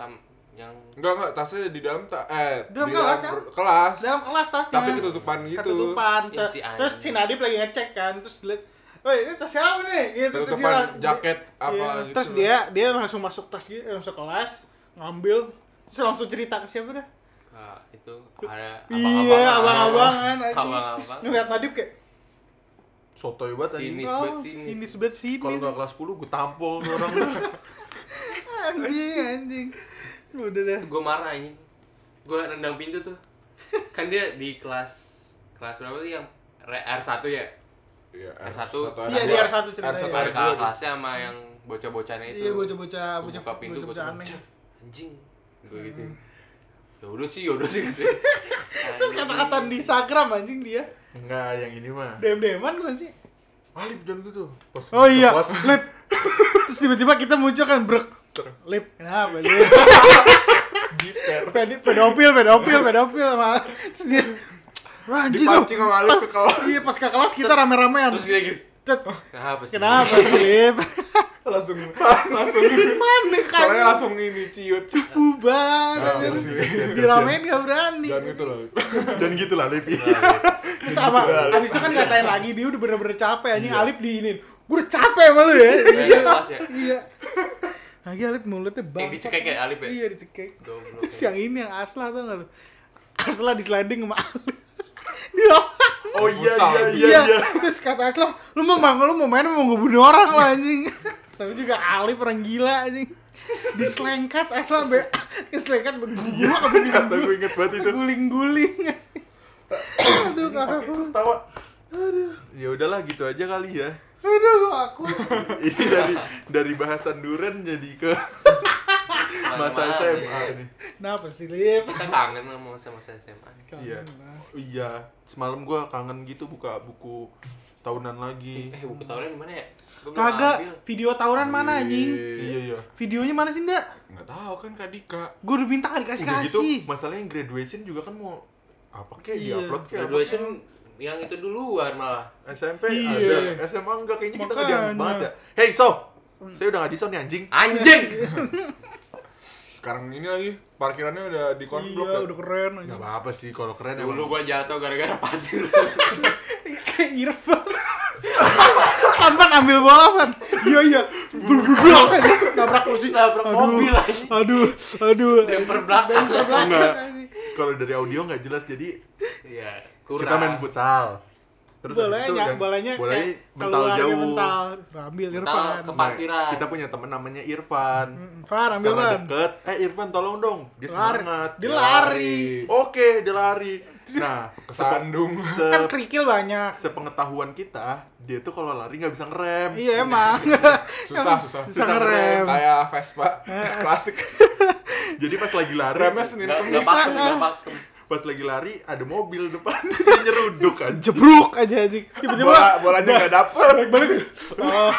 [SPEAKER 3] tam yang
[SPEAKER 1] enggak enggak tasnya di dalam ta eh
[SPEAKER 2] Dalam
[SPEAKER 1] di
[SPEAKER 2] kelas,
[SPEAKER 1] dalam
[SPEAKER 2] kan?
[SPEAKER 1] ber- kelas
[SPEAKER 2] dalam kelas tasnya
[SPEAKER 1] tapi ketutupan gitu
[SPEAKER 2] ketutupan
[SPEAKER 3] Ya, si
[SPEAKER 2] Ter- terus si
[SPEAKER 3] anjing.
[SPEAKER 2] Nadib lagi ngecek kan terus lihat Woi, ini tas siapa nih? Gitu, terus
[SPEAKER 1] ketutupan
[SPEAKER 2] dia-
[SPEAKER 1] jaket apa
[SPEAKER 2] Iya,
[SPEAKER 1] gitu
[SPEAKER 2] Terus dia dia langsung masuk tas gitu, eh, masuk kelas, ngambil, terus langsung cerita ke siapa dah?
[SPEAKER 3] ah, itu ada
[SPEAKER 2] iya, abang-abangan anjing. Terus
[SPEAKER 3] abang-abang
[SPEAKER 2] ngeliat Nadib kayak,
[SPEAKER 4] sotoy banget anjing
[SPEAKER 3] Sinis
[SPEAKER 2] "Oh,
[SPEAKER 3] banget, sinis.
[SPEAKER 2] sini sebet sini."
[SPEAKER 4] kalau nggak kelas 10 gue tampol tuh orang
[SPEAKER 2] Anjing, anjing. Udah dah.
[SPEAKER 3] gue marah anjing gue rendang pintu tuh kan dia di kelas kelas berapa sih yang re- R1 ya
[SPEAKER 1] Iya,
[SPEAKER 3] R1.
[SPEAKER 1] R2.
[SPEAKER 2] Iya, di R1 ceritanya.
[SPEAKER 1] R1
[SPEAKER 3] ada
[SPEAKER 1] R2.
[SPEAKER 3] kakak kelasnya sama yang bocah-bocahnya itu
[SPEAKER 2] Iya, bocah-bocah,
[SPEAKER 3] Gua
[SPEAKER 2] bocah
[SPEAKER 3] buka pintu
[SPEAKER 2] bocah bocah
[SPEAKER 3] bocah
[SPEAKER 2] aneh. Hmm.
[SPEAKER 3] anjing gue gitu ya udah sih ya udah sih gitu
[SPEAKER 2] [LAUGHS] Terus kata-kata di Instagram anjing dia.
[SPEAKER 4] enggak yang ini mah
[SPEAKER 2] Dem-deman kan sih.
[SPEAKER 4] Alip jangan gitu pas
[SPEAKER 2] Oh iya,
[SPEAKER 4] pas-
[SPEAKER 2] lip. Terus tiba-tiba kita muncul kan brek. Lip, kenapa sih?
[SPEAKER 1] Jiper.
[SPEAKER 2] Ped- pedofil, pedofil, pedofil sama terus dia Wah, anjing lu.
[SPEAKER 1] Dipancing sama Alip
[SPEAKER 2] Pas,
[SPEAKER 1] ke kelas.
[SPEAKER 2] iya, pas ke kelas kita rame-ramean.
[SPEAKER 3] terus dia gitu
[SPEAKER 2] Cet,
[SPEAKER 3] kenapa sih
[SPEAKER 2] Kenapa sih, Lip?
[SPEAKER 1] langsung langsung
[SPEAKER 2] Panik kan.
[SPEAKER 1] soalnya langsung ini ciut
[SPEAKER 4] Nah,
[SPEAKER 2] cupu banget.
[SPEAKER 4] terus dia- dia-
[SPEAKER 2] Diramein gak berani.
[SPEAKER 1] dan itu loh
[SPEAKER 4] jangan gitu lah Alip
[SPEAKER 2] Terus sama abis itu kan ngatain lagi dia udah bener-bener capek anjing Alip diinin. Gue udah capek sama lu ya.
[SPEAKER 3] Iya,
[SPEAKER 2] Iya.
[SPEAKER 3] kelas ya.
[SPEAKER 2] Iya. Lagi Alip mulutnya bang.
[SPEAKER 3] dicekek ya, Alip ya?
[SPEAKER 2] Iya, dicekek.
[SPEAKER 3] Goblok.
[SPEAKER 2] Terus yang ini yang Asla tau gak lu? Asla di sliding sama [LAUGHS] Alif. Di lapangan.
[SPEAKER 4] oh iya
[SPEAKER 1] Futsal.
[SPEAKER 4] iya iya
[SPEAKER 2] Iya.
[SPEAKER 4] iya
[SPEAKER 2] Terus kata Asla, lu mau bang, lu mau main mau gue bunuh orang lo [LAUGHS] anjing. Tapi juga Alif orang gila anjing. Diselengkat Asla [LAUGHS] be keselengkat berdua
[SPEAKER 4] [LAUGHS] kata
[SPEAKER 2] kebetulan
[SPEAKER 4] gue inget banget
[SPEAKER 2] gitu.
[SPEAKER 4] itu
[SPEAKER 2] guling-guling. [LAUGHS] Aduh, kata
[SPEAKER 4] sakit
[SPEAKER 2] gue.
[SPEAKER 4] terus tawa ya udahlah gitu aja kali ya [LAUGHS]
[SPEAKER 2] Aduh, aku.
[SPEAKER 4] ini dari dari bahasan duren jadi ke masa
[SPEAKER 3] Mana-mana
[SPEAKER 4] SMA
[SPEAKER 3] nih.
[SPEAKER 4] ini
[SPEAKER 2] Kenapa sih, Lip?
[SPEAKER 3] ya. kita kangen sama masa-masa SMA
[SPEAKER 2] Kangen
[SPEAKER 4] iya
[SPEAKER 2] lah.
[SPEAKER 4] iya semalam gua kangen gitu buka buku tahunan lagi
[SPEAKER 3] eh buku tahunan di mana ya Gua belum ambil.
[SPEAKER 2] Hmm. Kagak, Ya, video tawuran mana anjing?
[SPEAKER 4] iya iya
[SPEAKER 2] Videonya mana sih, Ndak?
[SPEAKER 1] nggak tahu kan kak Dika
[SPEAKER 2] Gue udah minta
[SPEAKER 4] udah
[SPEAKER 2] gak
[SPEAKER 4] gitu
[SPEAKER 2] dikasih-kasih.
[SPEAKER 4] masalahnya yang graduation juga kan mau apa kayak
[SPEAKER 2] Iya.
[SPEAKER 4] diupload kayak apa
[SPEAKER 3] graduation yang itu duluan malah
[SPEAKER 4] SMP
[SPEAKER 2] Iya.
[SPEAKER 4] ada SMA enggak kayaknya kita
[SPEAKER 2] Makanya.
[SPEAKER 4] nggak dianggap banget ya hey so saya udah nggak di nih anjing
[SPEAKER 3] anjing
[SPEAKER 1] sekarang ini lagi parkirannya udah di konblok
[SPEAKER 2] Iya,
[SPEAKER 1] ya.
[SPEAKER 2] udah keren
[SPEAKER 4] nggak
[SPEAKER 2] anjing.
[SPEAKER 4] apa-apa sih kalau keren emang
[SPEAKER 3] dulu gua jatuh gara-gara pasir
[SPEAKER 2] [LAUGHS] Irfan Fan Fan ambil bola Fan Iya iya Bergerak aja Nabrak kursi
[SPEAKER 3] Nabrak
[SPEAKER 2] Aduh,
[SPEAKER 3] mobil aja.
[SPEAKER 2] Aduh Aduh
[SPEAKER 3] temper belakang
[SPEAKER 2] Nabrak
[SPEAKER 4] Enggak.
[SPEAKER 2] belakang anjing.
[SPEAKER 4] kalau dari audio nggak jelas jadi
[SPEAKER 3] iya kurang
[SPEAKER 4] kita main futsal terus habis itu
[SPEAKER 2] Bolanya
[SPEAKER 4] yang-
[SPEAKER 2] Bolanya
[SPEAKER 4] bolanya
[SPEAKER 2] kayak
[SPEAKER 4] mental
[SPEAKER 2] keluar, dia
[SPEAKER 4] jauh
[SPEAKER 2] mental. Ambil
[SPEAKER 3] Mental
[SPEAKER 2] Irfan
[SPEAKER 3] ke-
[SPEAKER 4] Nah,
[SPEAKER 3] Kepatiran.
[SPEAKER 4] kita punya temen namanya Irfan
[SPEAKER 2] Mm, Fan ambil
[SPEAKER 4] karena
[SPEAKER 2] Fan
[SPEAKER 4] deket eh Irfan tolong dong dia
[SPEAKER 2] Lari.
[SPEAKER 4] semangat
[SPEAKER 2] Dia lari
[SPEAKER 4] oke dia lari nah
[SPEAKER 1] kesandung
[SPEAKER 4] se
[SPEAKER 2] Kan kerikil banyak
[SPEAKER 4] sepengetahuan kita dia tuh kalau lari nggak bisa ngerem
[SPEAKER 2] Iya emang [LAUGHS]
[SPEAKER 1] susah susah
[SPEAKER 2] Susah
[SPEAKER 4] ngerem.
[SPEAKER 2] ngerem
[SPEAKER 1] kayak Vespa
[SPEAKER 2] Eh, [LAUGHS]
[SPEAKER 1] klasik
[SPEAKER 4] jadi pas lagi lari
[SPEAKER 1] remnya senin
[SPEAKER 3] nggak nggak
[SPEAKER 1] kemis
[SPEAKER 3] pakem
[SPEAKER 2] ah.
[SPEAKER 3] nggak pakem
[SPEAKER 4] pas lagi lari ada mobil depan [LAUGHS] dia nyeruduk aja
[SPEAKER 2] Jebruk aja anjing Tiba-tiba
[SPEAKER 1] bola bolanya nggak dapet
[SPEAKER 2] [LAUGHS] oh,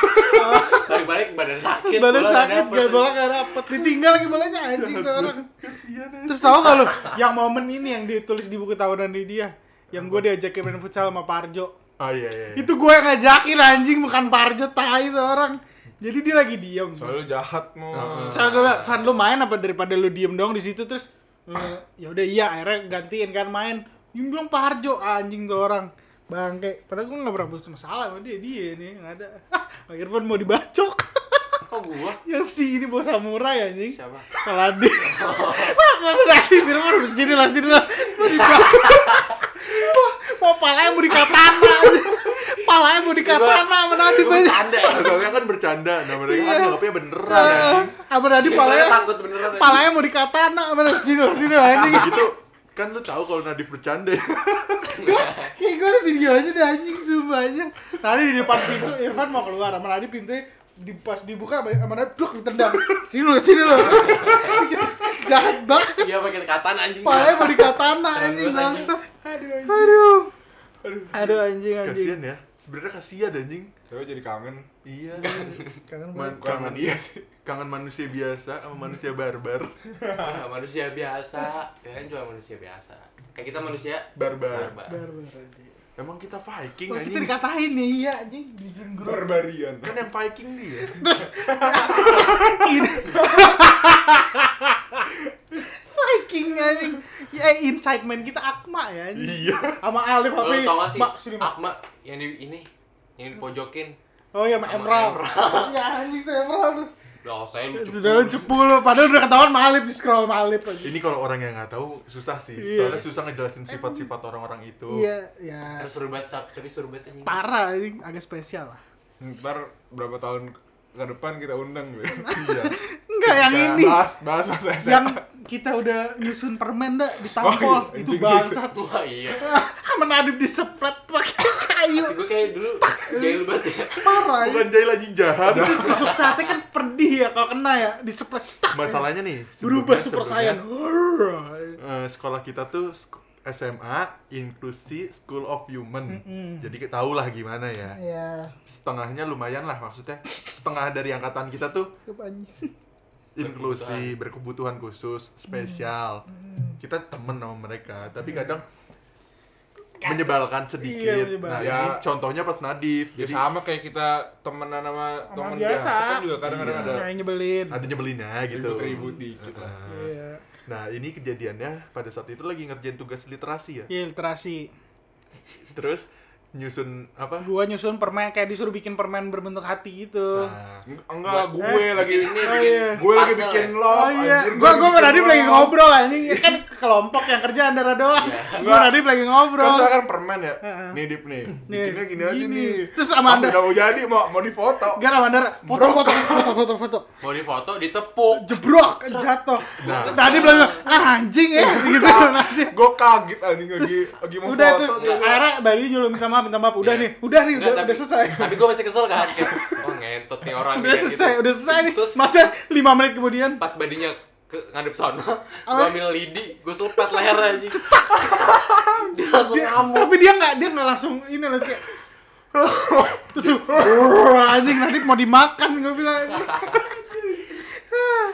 [SPEAKER 3] balik-balik badan sakit
[SPEAKER 2] Badan
[SPEAKER 3] bola nggak
[SPEAKER 2] sakit
[SPEAKER 3] dapet.
[SPEAKER 2] Gak bola gak dapet Ditinggal lagi bolanya anjing tuh orang
[SPEAKER 4] Kasihan aja.
[SPEAKER 2] Terus tahu gak lu yang momen ini yang ditulis di buku tahunan di dia, yang gue diajakin main futsal sama Parjo.
[SPEAKER 4] ah iya iya iya.
[SPEAKER 2] Itu gue yang ngajakin anjing bukan Parjo tai itu orang. Jadi dia lagi diem.
[SPEAKER 1] soalnya lu jahat mau
[SPEAKER 2] Soalnya gue bilang, Van lu main apa daripada lu diem doang di situ terus eh, ya udah iya akhirnya gantiin kan main. Yang bilang Parjo anjing tuh orang. Bangke, padahal gue gak pernah putus masalah sama dia, dia nih yang ada [LAUGHS] Pak Irfan mau dibacok [LAUGHS]
[SPEAKER 3] kok gua
[SPEAKER 2] Yang si ini bawa samurai anjing
[SPEAKER 3] siapa [LAUGHS]
[SPEAKER 2] Kaladi. Wah, nggak berani Firman harus sini lah, sini lah. Mau
[SPEAKER 3] [LAUGHS]
[SPEAKER 2] dibaca. Mau palanya mau dikatana. Palanya mau dikatana sama Nadib aja.
[SPEAKER 3] Gua bercanda ya.
[SPEAKER 2] Iya.
[SPEAKER 4] Soalnya kan bercanda, nah mereka kan anggapnya beneran anjing.
[SPEAKER 2] Apa tadi
[SPEAKER 3] Iya,
[SPEAKER 2] Eh, palanya?
[SPEAKER 3] gua takut beneran, anjing.
[SPEAKER 2] Palanya mau dikatana sama sini lah sini lah anjing.
[SPEAKER 4] gitu kan lu tahu kalau Nadif bercanda ya.
[SPEAKER 2] Gua- Kayak gue ada videonya deh anjing sumpah anjing. Tadi di depan pintu Irfan mau keluar sama Nadi pintunya di pas dibuka sama- sama Nadi duk ditendang. Sini lo, sini lo. Jahat banget.
[SPEAKER 3] Iya pakai kataan anjing.
[SPEAKER 2] Palanya mau dikatana anjing
[SPEAKER 3] Anjing.
[SPEAKER 2] langsung. Aduh. Aduh anjing anjing.
[SPEAKER 4] kasian ya sebenarnya kasian anjing
[SPEAKER 1] Tapi jadi kangen.
[SPEAKER 4] iya
[SPEAKER 2] Kangen
[SPEAKER 4] Man-
[SPEAKER 1] Bukan
[SPEAKER 4] kangen
[SPEAKER 2] [LAUGHS]
[SPEAKER 1] iya sih.
[SPEAKER 4] kangen manusia biasa sama manusia barbar
[SPEAKER 3] Ah, manusia biasa. Ya kan cuma manusia biasa. Kayak kita manusia
[SPEAKER 4] barbar
[SPEAKER 3] barbar.
[SPEAKER 2] barbar anjing.
[SPEAKER 4] emang kita Viking
[SPEAKER 2] Wah, Oh, kita
[SPEAKER 4] anjing
[SPEAKER 2] dikatain nih iya anjing bikin grup.
[SPEAKER 1] Barbarian.
[SPEAKER 4] kan yang Viking dia
[SPEAKER 2] In- Viking anjing. Ya inside man kita Akma ya anjing.
[SPEAKER 4] iya
[SPEAKER 2] Sama Alif
[SPEAKER 3] Lo
[SPEAKER 2] tapi
[SPEAKER 3] tau gak sih?
[SPEAKER 2] Mak sini Mak.
[SPEAKER 3] Akma yang di ini yang dipojokin.
[SPEAKER 2] Oh iya sama
[SPEAKER 3] Sama
[SPEAKER 2] Emerald. Ya anjing tuh Emerald tuh.
[SPEAKER 3] Lah saya lu
[SPEAKER 2] Sudah lu
[SPEAKER 3] cepu.
[SPEAKER 2] cepu lu padahal udah ketahuan malip di scroll malip aja.
[SPEAKER 4] ini kalau orang yang nggak tahu susah sih
[SPEAKER 2] Iya.
[SPEAKER 4] soalnya susah ngejelasin sifat-sifat orang-orang itu
[SPEAKER 2] Iya, ya.
[SPEAKER 3] Harus seru banget Sab. tapi seru banget anjing.
[SPEAKER 2] Parah ini agak spesial lah.
[SPEAKER 1] Ntar berapa tahun ke depan kita undang
[SPEAKER 2] [LAUGHS]
[SPEAKER 1] gitu.
[SPEAKER 4] iya
[SPEAKER 2] Enggak yang
[SPEAKER 1] Kita
[SPEAKER 2] ini.
[SPEAKER 1] Bahas bahas masa SMA.
[SPEAKER 2] Yang kita udah nyusun permen dah ditampol
[SPEAKER 1] Oh, iya. Anjing,
[SPEAKER 2] itu bangsat. [LAUGHS]
[SPEAKER 3] Wah iya.
[SPEAKER 2] Sama Nadib disepret pakai kayu.
[SPEAKER 3] Gue kayak dulu jahil banget ya.
[SPEAKER 2] Parah.
[SPEAKER 4] bukan jahil anjing jahat
[SPEAKER 2] Itu tusuk sate kan pedih ya kalau kena ya disepret cetak.
[SPEAKER 4] masalahnya nih
[SPEAKER 2] berubah
[SPEAKER 4] sebelumnya-
[SPEAKER 2] super
[SPEAKER 4] sebelumnya,
[SPEAKER 2] saiyan.
[SPEAKER 4] eh, sekolah kita tuh sk- SMA Inklusi School of Human jadi kita tahu lah gimana ya
[SPEAKER 2] Ya,
[SPEAKER 4] setengahnya lumayan lah maksudnya setengah dari angkatan kita tuh
[SPEAKER 2] cukup anjing.
[SPEAKER 4] inklusi berkebutuhan khusus
[SPEAKER 2] Hmm.
[SPEAKER 4] spesial kita temen sama mereka tapi kadang menyebalkan sedikit
[SPEAKER 2] Hmm. Iya, menyebalkan.
[SPEAKER 4] nah ini contohnya pas Nadif
[SPEAKER 1] Ya
[SPEAKER 4] jadi
[SPEAKER 1] sama kayak kita temenan sama
[SPEAKER 2] Sama
[SPEAKER 1] temen
[SPEAKER 2] biasa.
[SPEAKER 1] biasa. kan juga kadang-kadang
[SPEAKER 4] Iya.
[SPEAKER 1] ada
[SPEAKER 2] Kayak Nah, nyebelin.
[SPEAKER 4] ada nyebelinnya gitu
[SPEAKER 1] ribut-ribut dikit lah.
[SPEAKER 4] Nah,
[SPEAKER 2] Iya.
[SPEAKER 4] nah ini kejadiannya pada saat itu lagi ngerjain tugas literasi ya
[SPEAKER 2] Iya, Literasi.
[SPEAKER 4] terus nyusun apa
[SPEAKER 2] Gua nyusun permen kayak disuruh bikin permen berbentuk hati gitu.
[SPEAKER 4] nah,
[SPEAKER 1] Eng- Enggak, gue
[SPEAKER 2] Eh,
[SPEAKER 1] lagi
[SPEAKER 3] Bikin ini
[SPEAKER 2] Oh,
[SPEAKER 3] bikin
[SPEAKER 2] iya.
[SPEAKER 1] gue lagi
[SPEAKER 3] parcel
[SPEAKER 1] bikin
[SPEAKER 3] ya.
[SPEAKER 1] lo.
[SPEAKER 2] oh iya, gua gua sama Nadib lagi ngobrol anjing. Ya kan kelompok yang kerja antara doang. Gua Nadib lagi
[SPEAKER 1] Bro.
[SPEAKER 2] ngobrol.
[SPEAKER 1] kan permen ya.
[SPEAKER 2] Heeh.
[SPEAKER 1] Nih dip nih.
[SPEAKER 2] Nih,
[SPEAKER 1] Bikinnya gini, aja
[SPEAKER 2] gini.
[SPEAKER 1] nih.
[SPEAKER 2] Terus
[SPEAKER 1] Pas
[SPEAKER 2] sama Anda-
[SPEAKER 1] udah mau jadi mau mau difoto.
[SPEAKER 2] Gara mandar foto foto foto foto foto
[SPEAKER 3] Mau di foto ditepuk.
[SPEAKER 2] jebrok jatuh.
[SPEAKER 4] Nah.
[SPEAKER 2] Tadi bilang ah anjing ya gitu Nadib.
[SPEAKER 1] Gue kaget anjing lagi lagi mau
[SPEAKER 2] udah
[SPEAKER 1] foto.
[SPEAKER 2] tuh
[SPEAKER 1] tuh.
[SPEAKER 2] akhirnya Bali nyuruh minta maaf minta maaf udah
[SPEAKER 3] gitu.
[SPEAKER 2] nih
[SPEAKER 3] Iya.
[SPEAKER 2] udah nih udah,
[SPEAKER 3] Enggak, tapi-
[SPEAKER 2] udah selesai
[SPEAKER 3] Tapi gue masih kesel kan. Kayak, Oh ngentot nih orang.
[SPEAKER 2] [LAUGHS] udah
[SPEAKER 3] kayak gitu.
[SPEAKER 2] selesai udah selesai nih
[SPEAKER 3] Terus
[SPEAKER 2] masa 5 menit kemudian
[SPEAKER 3] pas badinya ke ngadep
[SPEAKER 2] [LAUGHS]
[SPEAKER 3] sono, gue
[SPEAKER 2] Apa?
[SPEAKER 3] ambil lidi, gue selepet leher aja. [LAUGHS] Dia langsung
[SPEAKER 2] dia,
[SPEAKER 3] ngamuk.
[SPEAKER 2] tapi dia nggak dia nggak langsung ini langsung kayak [LAUGHS] terus tuh, "Wah, anjing nanti mau dimakan gue bilang anjing.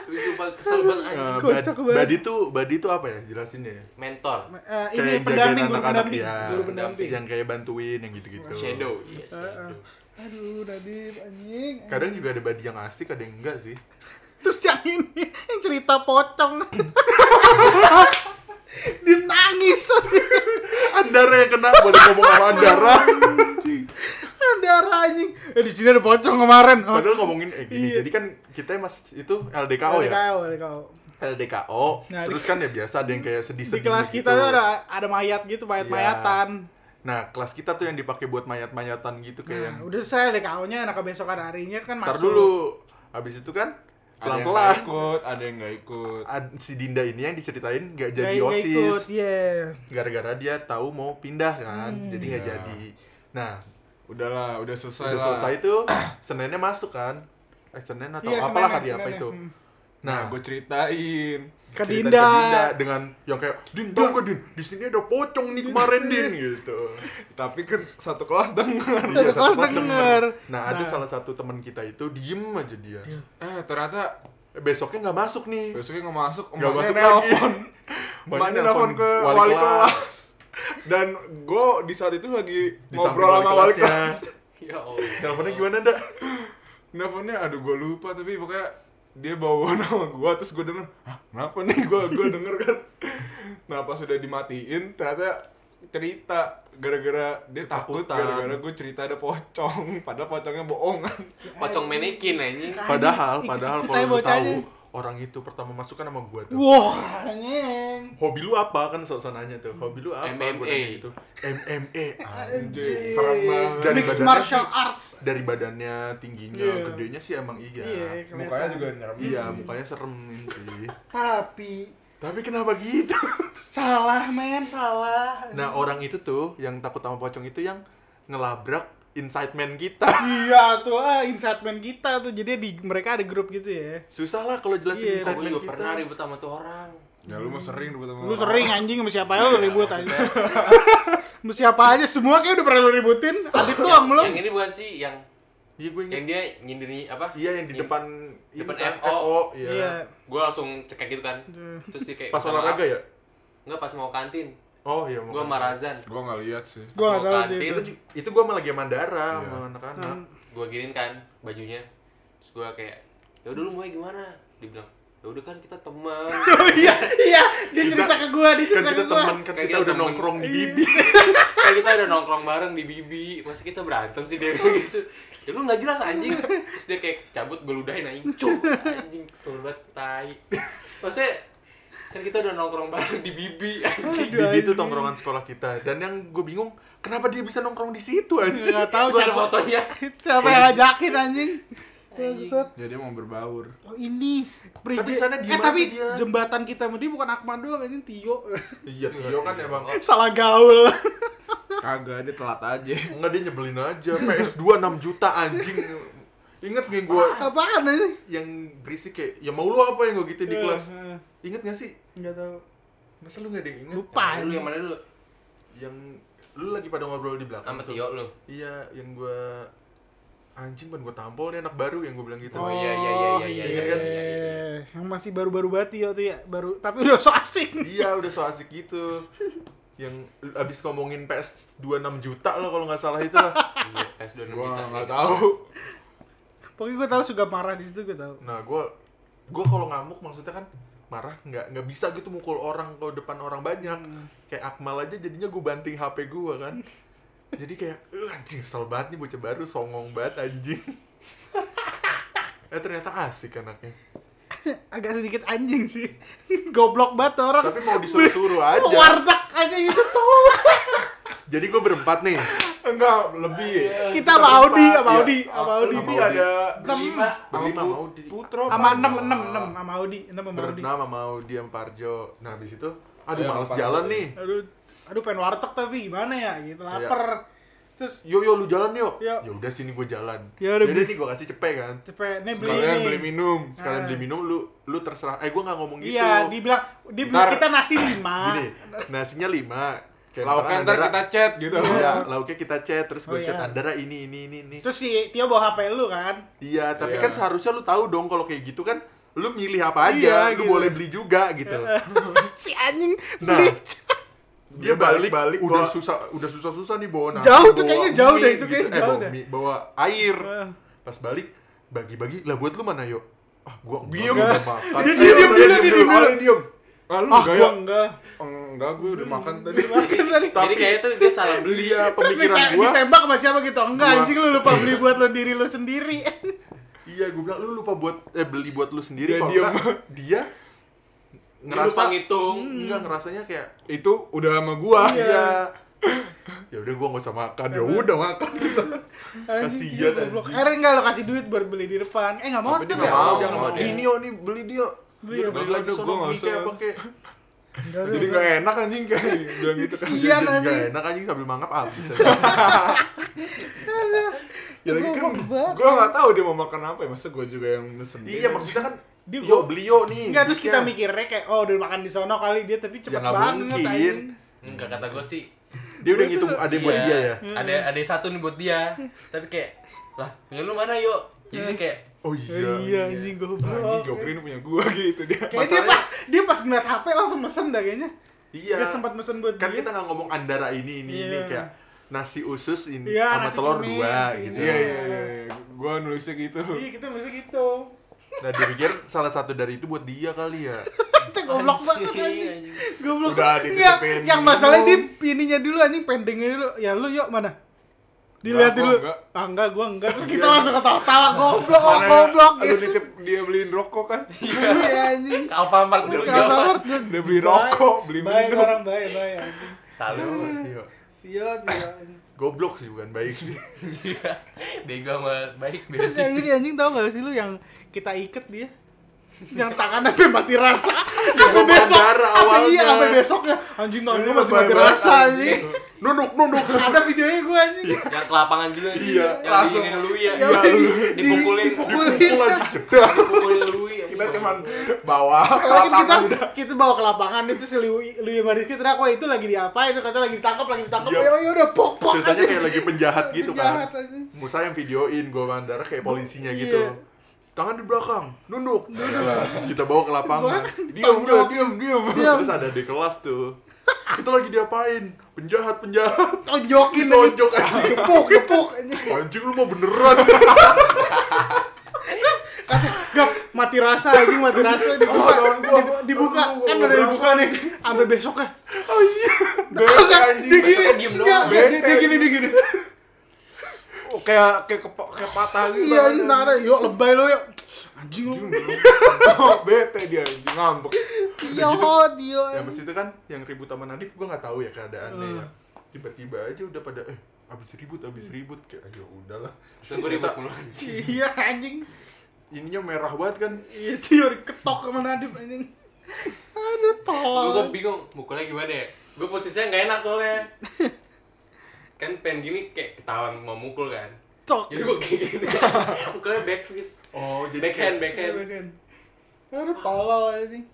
[SPEAKER 3] Tapi sumpah kesel banget anjing.
[SPEAKER 4] eh, bad-
[SPEAKER 2] Kocak banget.
[SPEAKER 4] badi tuh badi tuh apa ya jelasinnya ya?
[SPEAKER 3] Mentor,
[SPEAKER 2] Eh,
[SPEAKER 4] Kayak
[SPEAKER 2] ini
[SPEAKER 4] jagain
[SPEAKER 2] pendamping guru
[SPEAKER 4] anak-anak,
[SPEAKER 2] pendamping
[SPEAKER 4] iya.
[SPEAKER 2] guru pendamping
[SPEAKER 4] yang kayak bantuin yang gitu-gitu
[SPEAKER 3] shadow, iya.
[SPEAKER 2] Eh, eh.
[SPEAKER 3] shadow.
[SPEAKER 2] aduh Nadib anjing
[SPEAKER 4] kadang juga ada badi yang asik ada yang enggak sih
[SPEAKER 2] terus yang ini yang cerita pocong [LAUGHS] dia nangis [LAUGHS]
[SPEAKER 4] Andara yang kena boleh ngomong sama Andara
[SPEAKER 2] darah anjing eh di sini ada pocong kemarin
[SPEAKER 4] padahal ngomongin eh gini
[SPEAKER 2] Iya.
[SPEAKER 4] jadi kan kita mas itu LDKO ya
[SPEAKER 2] LDKO, LDKO.
[SPEAKER 4] LDKO
[SPEAKER 2] Nah, di-
[SPEAKER 4] terus kan ya biasa ada yang kayak
[SPEAKER 2] Di
[SPEAKER 4] sedih-sedih
[SPEAKER 2] kelas kita
[SPEAKER 4] gitu.
[SPEAKER 2] tuh ada ada mayat gitu, mayat-mayatan.
[SPEAKER 4] nah kelas kita tuh yang dipakai buat mayat-mayatan gitu kayak yang
[SPEAKER 2] Nah, udah selesai LDKO-nya, nah kebesokan harinya kan
[SPEAKER 4] ntar
[SPEAKER 2] masuk.
[SPEAKER 4] dulu habis itu kan
[SPEAKER 1] Ada yang
[SPEAKER 4] pelan-pelan
[SPEAKER 1] nggak ikut, ada yang nggak ikut.
[SPEAKER 4] ad- si Dinda ini yang diceritain nggak
[SPEAKER 2] Nggak-
[SPEAKER 4] jadi
[SPEAKER 2] nggak ikut,
[SPEAKER 4] osis
[SPEAKER 2] Iya.
[SPEAKER 4] gara-gara dia tahu mau pindah kan
[SPEAKER 2] Hmm.
[SPEAKER 4] jadi nggak
[SPEAKER 1] Iya.
[SPEAKER 4] jadi nah
[SPEAKER 1] Udahlah, udah selesai
[SPEAKER 4] udah
[SPEAKER 1] lah.
[SPEAKER 4] selesai tuh Seninnya masuk kan eh, Senin atau
[SPEAKER 2] Iya,
[SPEAKER 4] apalah
[SPEAKER 2] Seninnya,
[SPEAKER 4] hari apa
[SPEAKER 2] Seninnya.
[SPEAKER 4] itu
[SPEAKER 2] Hmm.
[SPEAKER 1] Nah,
[SPEAKER 4] nah
[SPEAKER 1] gue ceritain.
[SPEAKER 2] Ke
[SPEAKER 4] cerita
[SPEAKER 2] Dinda.
[SPEAKER 4] ke Dinda dengan yang kayak Din tau gak Din di sini ada pocong nih kemarin
[SPEAKER 1] [LAUGHS]
[SPEAKER 4] Din gitu Iya,
[SPEAKER 1] Tapi kan satu kelas denger.
[SPEAKER 2] Satu kelas
[SPEAKER 4] kelas
[SPEAKER 2] denger.
[SPEAKER 4] nah ada
[SPEAKER 2] Nah.
[SPEAKER 4] salah satu teman kita itu diem aja dia
[SPEAKER 1] Eh, ternyata
[SPEAKER 4] Eh, besoknya nggak masuk nih
[SPEAKER 1] besoknya nggak masuk,
[SPEAKER 4] nggak
[SPEAKER 1] emaknya [LAUGHS]
[SPEAKER 4] masuk lagi
[SPEAKER 1] nelpon. Emaknya nelpon ke wali, kelas. [LAUGHS] Dan gue di saat itu lagi
[SPEAKER 4] Di
[SPEAKER 1] ngobrol
[SPEAKER 4] samping
[SPEAKER 1] sama
[SPEAKER 4] wali
[SPEAKER 1] wali
[SPEAKER 4] kelasnya.
[SPEAKER 1] kelas.
[SPEAKER 3] Ya Allah.
[SPEAKER 4] teleponnya gimana dah
[SPEAKER 1] Nelponnya aduh gue lupa tapi pokoknya dia bawa [LAUGHS] nama gue terus gue denger, "Hah, kenapa nih [LAUGHS] gue gue denger kan. Nah, pas sudah dimatiin ternyata cerita gara-gara dia takut
[SPEAKER 4] Ketakutan.
[SPEAKER 1] gara-gara gue cerita ada pocong [LAUGHS] padahal pocongnya kan. bohongan
[SPEAKER 3] Pocong manekin anjing.
[SPEAKER 4] padahal
[SPEAKER 2] Ikut-ikut
[SPEAKER 4] padahal
[SPEAKER 2] aja
[SPEAKER 1] ya
[SPEAKER 4] kalau lu tahu
[SPEAKER 2] bocahnya.
[SPEAKER 4] orang itu pertama masuk kan sama gua tuh
[SPEAKER 2] Wah, anjing.
[SPEAKER 4] hobi lu apa kan sok nanya tuh hobi lu apa Gua
[SPEAKER 3] MMA.
[SPEAKER 4] nanya gitu MMA anjir
[SPEAKER 1] Anjing, serem banget.
[SPEAKER 4] Dari
[SPEAKER 2] Mixed
[SPEAKER 4] badannya
[SPEAKER 2] martial
[SPEAKER 4] sih-
[SPEAKER 2] arts.
[SPEAKER 4] dari badannya tingginya
[SPEAKER 2] Iya.
[SPEAKER 4] gedenya sih emang iya
[SPEAKER 2] Iya,
[SPEAKER 1] Mukanya juga nyeremin
[SPEAKER 4] iya
[SPEAKER 1] sih.
[SPEAKER 4] mukanya seremin sih
[SPEAKER 2] Tapi
[SPEAKER 4] tapi kenapa gitu [LAUGHS]
[SPEAKER 2] salah, men, salah.
[SPEAKER 4] nah orang itu tuh yang takut sama pocong itu yang ngelabrak inside man kita
[SPEAKER 2] Iya tuh, ah insight man kita tuh. Jadi di mereka ada grup gitu ya.
[SPEAKER 4] susah lah kalau jelasin
[SPEAKER 2] Iya.
[SPEAKER 4] inside man
[SPEAKER 3] Gue juga
[SPEAKER 4] kita
[SPEAKER 3] pernah ribut sama tuh orang.
[SPEAKER 1] Ya lu mah sering ribut sama
[SPEAKER 2] Lu
[SPEAKER 1] orang.
[SPEAKER 2] sering anjing sama siapa ya lu
[SPEAKER 4] Iya,
[SPEAKER 2] ribut aja. Sama siapa aja semua kayak udah pernah lu ributin. Adit tuh yang [LAUGHS] belum.
[SPEAKER 3] Yang ini bukan sih yang
[SPEAKER 4] iya gue inget
[SPEAKER 3] yang dia nyindiri apa?
[SPEAKER 4] iya yang di
[SPEAKER 3] Nyindir-
[SPEAKER 4] depan ini
[SPEAKER 3] depan
[SPEAKER 4] kan,
[SPEAKER 3] FO.
[SPEAKER 4] iya
[SPEAKER 3] Gue langsung cekek gitu kan.
[SPEAKER 2] Iya.
[SPEAKER 3] Terus dia kayak
[SPEAKER 4] pas
[SPEAKER 3] "Minta
[SPEAKER 4] olahraga
[SPEAKER 3] maaf."
[SPEAKER 4] ya
[SPEAKER 3] Enggak pas mau kantin.
[SPEAKER 4] oh iya mau
[SPEAKER 3] Gue sama Razan.
[SPEAKER 1] Gua nggak lihat sih.
[SPEAKER 2] Gua gak
[SPEAKER 3] Mau
[SPEAKER 2] tahu sih
[SPEAKER 3] kantin,
[SPEAKER 2] itu.
[SPEAKER 4] itu itu gue malah lagi Mandara
[SPEAKER 1] Iya.
[SPEAKER 4] sama
[SPEAKER 2] Nah.
[SPEAKER 4] anak-anak
[SPEAKER 3] Gue giniin kan bajunya. Terus gue kayak ya udah lu mau gimana? Dibilang ya udah kan kita teman.
[SPEAKER 1] [LAUGHS]
[SPEAKER 2] Iya, iya. Dia
[SPEAKER 4] Kita-
[SPEAKER 2] cerita ke gua, dia
[SPEAKER 4] kan
[SPEAKER 2] cerita
[SPEAKER 4] kita
[SPEAKER 2] ke gitu gua.
[SPEAKER 4] teman kan
[SPEAKER 3] Kayak
[SPEAKER 4] kita
[SPEAKER 3] kita
[SPEAKER 4] udah
[SPEAKER 3] temen.
[SPEAKER 4] nongkrong di bibi
[SPEAKER 3] Kayak Kan kita udah nongkrong bareng di Bibi. Masa kita berantem sih
[SPEAKER 1] [LAUGHS]
[SPEAKER 3] dia kayak gitu. Ya lu nggak jelas anjing. Terus dia kayak cabut gue ludahin anjing.
[SPEAKER 1] [LAUGHS]
[SPEAKER 3] Cuk, anjing kesel banget tai. Maksudnya kan kita udah nongkrong bareng di
[SPEAKER 1] [LAUGHS]
[SPEAKER 3] Bibi anjing.
[SPEAKER 4] bibi
[SPEAKER 2] Aduh,
[SPEAKER 4] itu
[SPEAKER 2] anjing.
[SPEAKER 4] gitu tongkrongan sekolah kita dan yang gue bingung kenapa dia bisa nongkrong di situ anjir
[SPEAKER 2] Nggak tahu
[SPEAKER 3] Gue ada
[SPEAKER 2] siapa-
[SPEAKER 3] fotonya.
[SPEAKER 2] [LAUGHS] Siapa yang ngajakin anjing? Bangsat.
[SPEAKER 1] Ya dia mau berbaur.
[SPEAKER 2] Oh ini Bridge-
[SPEAKER 4] Tapi sana diem
[SPEAKER 2] eh, tapi
[SPEAKER 4] aja dia.
[SPEAKER 2] jembatan kita sama dia bukan Akmal doang anjing Tio [LAUGHS]
[SPEAKER 4] iya
[SPEAKER 1] Iya kan emang
[SPEAKER 2] salah gaul
[SPEAKER 1] kagak dia telat aja.
[SPEAKER 4] enggak dia nyebelin aja PS2 6 juta anjing inget gak gue
[SPEAKER 2] apaan anjing
[SPEAKER 4] yang berisik kayak ya mau lu apa yang gue gitu di kelas
[SPEAKER 2] Eh, eh,
[SPEAKER 4] inget gak sih
[SPEAKER 2] nggak tahu
[SPEAKER 4] masa lu gak ada yang inget
[SPEAKER 2] lupa
[SPEAKER 3] Yang Dulu yang mana dulu?
[SPEAKER 4] yang lu lagi pada ngobrol di belakang
[SPEAKER 3] Sama
[SPEAKER 4] tuh.
[SPEAKER 3] Tio lu.
[SPEAKER 4] iya yang gue anjing ban gue tampol nih anak baru yang gue bilang gitu
[SPEAKER 3] Oh, iya, iya, iya, iya, iya,
[SPEAKER 4] iya,
[SPEAKER 3] iya,
[SPEAKER 2] yang masih baru-baru banget Tio tuh ya baru tapi udah so asik
[SPEAKER 4] iya udah so asik gitu yang abis ngomongin PS 26 juta lah kalau nggak salah itu lah
[SPEAKER 3] Iya, PS26
[SPEAKER 1] Gua
[SPEAKER 3] kita.
[SPEAKER 1] nggak tahu.
[SPEAKER 2] pokoknya gue tahu suka marah di situ gue tahu
[SPEAKER 4] nah gue gue kalau ngamuk maksudnya kan marah nggak nggak bisa gitu mukul orang kalau depan orang banyak
[SPEAKER 2] Hmm.
[SPEAKER 4] kayak Akmal aja jadinya gue banting HP gue kan jadi kayak "Eh, anjing sel banget nih bocah baru songong banget anjing eh ternyata asik anaknya
[SPEAKER 2] agak sedikit anjing sih [LAUGHS] goblok banget tuh orang
[SPEAKER 4] tapi mau
[SPEAKER 2] [LAUGHS]
[SPEAKER 4] disuruh-suruh aja
[SPEAKER 2] warteg aja gitu tuh
[SPEAKER 4] jadi gue berempat nih
[SPEAKER 1] Enggak, lebih.
[SPEAKER 2] kita sama Audi sama
[SPEAKER 4] Iya.
[SPEAKER 2] Audi sama Audi
[SPEAKER 1] Lebih
[SPEAKER 4] Audi.
[SPEAKER 1] ada
[SPEAKER 3] Berlima.
[SPEAKER 4] berlima mau di
[SPEAKER 1] Putro.
[SPEAKER 2] sama enam enam enam sama Audi enam sama Audi
[SPEAKER 4] bernama mau dia Parjo nah habis itu aduh
[SPEAKER 1] Iya,
[SPEAKER 4] males
[SPEAKER 1] Parjo.
[SPEAKER 4] jalan nih
[SPEAKER 2] aduh aduh pengen warteg tapi gimana ya gitu
[SPEAKER 4] Iya.
[SPEAKER 2] lapar terus
[SPEAKER 4] yo yo lu jalan yo
[SPEAKER 2] Yo.
[SPEAKER 4] ya udah sini gue jalan
[SPEAKER 2] Ya udah,
[SPEAKER 4] jadi
[SPEAKER 2] beli.
[SPEAKER 4] nih gue kasih cepet kan
[SPEAKER 2] cepet nih beli
[SPEAKER 1] Kalian
[SPEAKER 2] ini
[SPEAKER 1] beli minum.
[SPEAKER 4] sekalian
[SPEAKER 2] Ah.
[SPEAKER 4] beli minum lu lu terserah eh gue nggak ngomong gitu
[SPEAKER 2] iya dibilang dia beli
[SPEAKER 1] Ntar.
[SPEAKER 2] kita nasi lima
[SPEAKER 4] [LAUGHS] gini nasinya lima Kayak
[SPEAKER 1] Lauknya
[SPEAKER 4] misalkan
[SPEAKER 1] ntar
[SPEAKER 4] Andara-
[SPEAKER 1] kita chat gitu.
[SPEAKER 4] Iya, lauknya kita chat terus gue
[SPEAKER 2] Oh,
[SPEAKER 4] chat
[SPEAKER 2] iya.
[SPEAKER 4] Andara ini ini ini ini
[SPEAKER 2] terus si Tio bawa HP lu kan [LAUGHS]
[SPEAKER 4] iya tapi
[SPEAKER 1] Iya.
[SPEAKER 4] kan seharusnya lu tahu dong kalau kayak gitu kan lu milih apa aja
[SPEAKER 2] Iya,
[SPEAKER 4] lu
[SPEAKER 2] gitu. Iya.
[SPEAKER 4] boleh beli juga gitu
[SPEAKER 2] si anjing
[SPEAKER 4] Nah,
[SPEAKER 2] [LAUGHS] beli
[SPEAKER 4] dia balik balik
[SPEAKER 1] Balik-balik
[SPEAKER 4] udah
[SPEAKER 1] bawa-
[SPEAKER 4] susah udah susah susah nih bawa nasi
[SPEAKER 2] Jauh tuh
[SPEAKER 4] bawa
[SPEAKER 2] kayaknya, jauh
[SPEAKER 4] mie
[SPEAKER 2] deh, itu kayaknya
[SPEAKER 4] Eh,
[SPEAKER 2] jauh
[SPEAKER 4] bawa
[SPEAKER 2] deh.
[SPEAKER 4] mie, bawa air
[SPEAKER 2] Ah.
[SPEAKER 4] pas balik bagi bagi lah buat lu mana yuk ah gua
[SPEAKER 1] Diem.
[SPEAKER 4] gua mau makan
[SPEAKER 2] Dia diem dulu, dia diem dulu.
[SPEAKER 1] Orang diem. Ah lu
[SPEAKER 2] ah
[SPEAKER 1] enggak
[SPEAKER 2] gua
[SPEAKER 1] ya?
[SPEAKER 2] enggak
[SPEAKER 1] Enggak, gue udah makan tadi.
[SPEAKER 2] Beli makan tadi
[SPEAKER 3] Jadi kayaknya tuh dia salah beli.
[SPEAKER 4] beli ya
[SPEAKER 2] terus
[SPEAKER 4] pemikiran
[SPEAKER 2] dite-
[SPEAKER 4] gua
[SPEAKER 2] ditembak sama siapa gitu enggak
[SPEAKER 4] Gua.
[SPEAKER 2] anjing lu lupa beli buat lo diri lo sendiri [LAUGHS]
[SPEAKER 4] iya gua bilang lu lupa buat eh beli buat lu sendiri
[SPEAKER 1] Dia
[SPEAKER 4] kalau
[SPEAKER 1] diem.
[SPEAKER 4] enggak, dia
[SPEAKER 3] Ngerasa
[SPEAKER 4] ngerasa
[SPEAKER 3] ngitung.
[SPEAKER 4] enggak ngerasanya kayak
[SPEAKER 1] Itu udah sama gua. [LAUGHS]
[SPEAKER 4] iya, Terus, ya udah gua nggak usah makan ya udah makan gitu
[SPEAKER 2] anjing
[SPEAKER 4] Kasian,
[SPEAKER 2] Tio goblok
[SPEAKER 4] anjing.
[SPEAKER 2] akhirnya enggak lo kasih duit buat beli di depan eh enggak mau
[SPEAKER 1] Tapi dia
[SPEAKER 2] Tio.
[SPEAKER 1] nggak mau,
[SPEAKER 4] dia
[SPEAKER 1] nggak mau dia.
[SPEAKER 4] ini yo nih beli dia
[SPEAKER 2] Beli
[SPEAKER 4] Dia
[SPEAKER 2] ya,
[SPEAKER 4] beli
[SPEAKER 1] beli
[SPEAKER 4] lagi
[SPEAKER 1] aja,
[SPEAKER 4] sono
[SPEAKER 1] gua nggak
[SPEAKER 4] mie kayak
[SPEAKER 1] usah.
[SPEAKER 4] apa kayak
[SPEAKER 2] Enggak,
[SPEAKER 1] Jadi
[SPEAKER 2] udah,
[SPEAKER 1] enggak enak anjing kayak bilang gitu kan.
[SPEAKER 2] Iya,
[SPEAKER 4] Jadi
[SPEAKER 2] anjing.
[SPEAKER 4] nggak enak anjing sambil mangap habis aja
[SPEAKER 1] Ya lagi kan
[SPEAKER 2] Goblok banget.
[SPEAKER 1] gua enggak tahu dia mau makan apa ya. Masa gua juga yang mesen.
[SPEAKER 4] Iya maksudnya kan
[SPEAKER 2] Dia
[SPEAKER 4] yo
[SPEAKER 2] gua-
[SPEAKER 4] beli yo nih.
[SPEAKER 2] Enggak, terus kita
[SPEAKER 4] duitnya.
[SPEAKER 2] mikirnya kayak oh udah makan di sono kali dia
[SPEAKER 1] Ya
[SPEAKER 2] tapi cepet
[SPEAKER 4] nggak
[SPEAKER 2] banget
[SPEAKER 4] mungkin.
[SPEAKER 2] anjing.
[SPEAKER 1] Hmm.
[SPEAKER 3] Enggak kata gue sih.
[SPEAKER 4] Dia udah ngitung ada buat
[SPEAKER 3] iya,
[SPEAKER 4] dia ya.
[SPEAKER 3] Ada ada satu nih buat
[SPEAKER 4] [LAUGHS]
[SPEAKER 3] dia. Tapi kayak lah, punya lu mana yuk? Jadi kayak
[SPEAKER 4] Oh
[SPEAKER 2] Iya,
[SPEAKER 4] iya.
[SPEAKER 2] anjing
[SPEAKER 1] Anjing
[SPEAKER 2] goblok.
[SPEAKER 1] Jopri ini punya gua [LAUGHS] gitu dia.
[SPEAKER 2] Kayaknya dia pas dia pas ngeliat HP langsung mesen dah kayaknya.
[SPEAKER 4] Iya.
[SPEAKER 2] Dia sempat mesen buat
[SPEAKER 4] Kan
[SPEAKER 2] dia.
[SPEAKER 4] kita nggak ngomong andara ini ini ini
[SPEAKER 2] Iya.
[SPEAKER 4] kayak nasi usus ini
[SPEAKER 2] Iya,
[SPEAKER 4] sama
[SPEAKER 2] nasi
[SPEAKER 4] telur
[SPEAKER 2] kuning,
[SPEAKER 4] dua
[SPEAKER 2] nasi
[SPEAKER 4] gitu.
[SPEAKER 2] ini.
[SPEAKER 1] Iya iya iya. iya. Gua nulisnya gitu.
[SPEAKER 2] Iya, kita mesti gitu. [LAUGHS]
[SPEAKER 4] Nah dia pikir salah satu dari itu buat dia kali ya.
[SPEAKER 2] Itu goblok banget
[SPEAKER 3] Anjing,
[SPEAKER 2] anjing.
[SPEAKER 3] anjing.
[SPEAKER 2] Goblok.
[SPEAKER 4] Udah,
[SPEAKER 2] Nggak,
[SPEAKER 4] dititipin
[SPEAKER 2] yang masalahnya dia
[SPEAKER 4] minum.
[SPEAKER 2] ininya dulu anjing pendingnya dulu. Ya lu yuk mana?
[SPEAKER 1] Enggak,
[SPEAKER 2] Dilihat dulu.
[SPEAKER 1] gua enggak.
[SPEAKER 2] Ah, enggak, gua enggak. Terus
[SPEAKER 1] Iya.
[SPEAKER 2] kita langsung ketawa-tawa, goblok, oh,
[SPEAKER 1] Mana ya?
[SPEAKER 2] goblok
[SPEAKER 1] Lu
[SPEAKER 2] gitu.
[SPEAKER 1] nitip dia beliin rokok kan?
[SPEAKER 2] Iya anjing.
[SPEAKER 3] [LAUGHS] Ke Alfamart dulu
[SPEAKER 2] Kata
[SPEAKER 3] jawab.
[SPEAKER 2] Martin.
[SPEAKER 1] Dia beli rokok, beli
[SPEAKER 2] Baik
[SPEAKER 1] minum.
[SPEAKER 2] orang baik, baik. anjing.
[SPEAKER 3] Salut. [LAUGHS]
[SPEAKER 4] Iya.
[SPEAKER 2] Iya, iya. anjing.
[SPEAKER 4] Goblok sih bukan baik sih.
[SPEAKER 3] Iya. Dego sama baik beda
[SPEAKER 2] Terus yang
[SPEAKER 3] sih.
[SPEAKER 2] ini anjing tau gak sih lu yang kita iket dia? yang tangannya sampai mati rasa sampai
[SPEAKER 4] gua
[SPEAKER 2] besok
[SPEAKER 4] bandara
[SPEAKER 2] sampai iya
[SPEAKER 4] awalnya.
[SPEAKER 2] sampai besoknya anjing tangan gue
[SPEAKER 4] Ini
[SPEAKER 2] masih
[SPEAKER 4] lebay
[SPEAKER 2] mati
[SPEAKER 4] banget,
[SPEAKER 2] rasa
[SPEAKER 4] anjing.
[SPEAKER 2] anjing
[SPEAKER 4] Nunduk, nunduk.
[SPEAKER 2] ada videonya gue anjing
[SPEAKER 3] Yang ke lapangan gitu
[SPEAKER 4] Iya,
[SPEAKER 3] Yang
[SPEAKER 4] langsung.
[SPEAKER 3] diinin lu ya.
[SPEAKER 2] Iya,
[SPEAKER 4] lu.
[SPEAKER 3] [LAUGHS] Dipukulin.
[SPEAKER 2] dipukulin
[SPEAKER 4] Pukul
[SPEAKER 2] [LAUGHS]
[SPEAKER 4] aja jedar.
[SPEAKER 3] Dipukulin lu ya.
[SPEAKER 1] Kita cuman bawa
[SPEAKER 2] soalnya kan kita
[SPEAKER 1] tangan udah.
[SPEAKER 2] kita bawa ke lapangan itu si Liu Liu Mariski teriak wah itu lagi diapain itu kata lagi ditangkap lagi ditangkap
[SPEAKER 4] Iya.
[SPEAKER 2] ya ya udah pok pok
[SPEAKER 4] Ceritanya
[SPEAKER 2] anjing.
[SPEAKER 4] kayak lagi penjahat gitu kan.
[SPEAKER 2] Jahat, anjing.
[SPEAKER 4] Musa yang videoin gue bandara kayak polisinya
[SPEAKER 2] Iya.
[SPEAKER 4] gitu. Tangan di belakang, nunduk. Nah, Kita bawa ke lapangan.
[SPEAKER 1] Diam udah, diam, diam.
[SPEAKER 2] kan Diam.
[SPEAKER 4] Terus ada di kelas tuh. Kita lagi diapain? Penjahat,
[SPEAKER 2] [LAUGHS]
[SPEAKER 4] penjahat.
[SPEAKER 2] tonjokin anjing.
[SPEAKER 4] Tonjok aja.
[SPEAKER 2] jepuk jepuk anjing.
[SPEAKER 4] Anjing lu mau beneran.
[SPEAKER 2] Kata, gap mati rasa anjing mati rasa
[SPEAKER 3] Oh,
[SPEAKER 2] dibuka
[SPEAKER 3] iya.
[SPEAKER 2] dibu- dibuka
[SPEAKER 4] Aduh, gua
[SPEAKER 2] kan
[SPEAKER 4] nggak
[SPEAKER 2] udah dibuka
[SPEAKER 4] berasa.
[SPEAKER 2] nih sampai besoknya
[SPEAKER 1] Bete
[SPEAKER 2] dia
[SPEAKER 1] anjing.
[SPEAKER 2] gini
[SPEAKER 3] Besoknya diem doang.
[SPEAKER 2] Nggak, nggak, dia-
[SPEAKER 1] Bete.
[SPEAKER 2] dia gini dia gini
[SPEAKER 1] Oh, Kayak kayak kepa- kayak patah gitu.
[SPEAKER 2] iya anjing tangannya yuk lebay lo yuk anjing lu
[SPEAKER 1] Oh, Bete dia anjing ngambek.
[SPEAKER 2] iya hot iya
[SPEAKER 3] Ya,
[SPEAKER 4] yang pas itu kan yang ribut sama Nadif gue nggak tahu ya keadaannya ya
[SPEAKER 2] Hmm.
[SPEAKER 4] tiba-tiba aja udah pada eh abis ribut abis ribut kayak ayo udahlah
[SPEAKER 3] Terus gue ribut mulu anjing.
[SPEAKER 2] iya anjing
[SPEAKER 4] ininya merah banget kan
[SPEAKER 2] iya dia diketok sama Nadif anjing aduh
[SPEAKER 3] Gue
[SPEAKER 2] tolong
[SPEAKER 3] bingung mukulnya gimana ya. Gue posisinya nggak enak
[SPEAKER 2] [LAUGHS]
[SPEAKER 3] soalnya. Kan pengen gini kayak ketahuan mau mukul kan.
[SPEAKER 2] cok
[SPEAKER 3] Jadi gue kayak
[SPEAKER 2] [LAUGHS]
[SPEAKER 3] gini. Mukulnya back fist.
[SPEAKER 4] oh
[SPEAKER 3] Backhand, backhand.
[SPEAKER 2] Backhand. Aduh tolol anjing.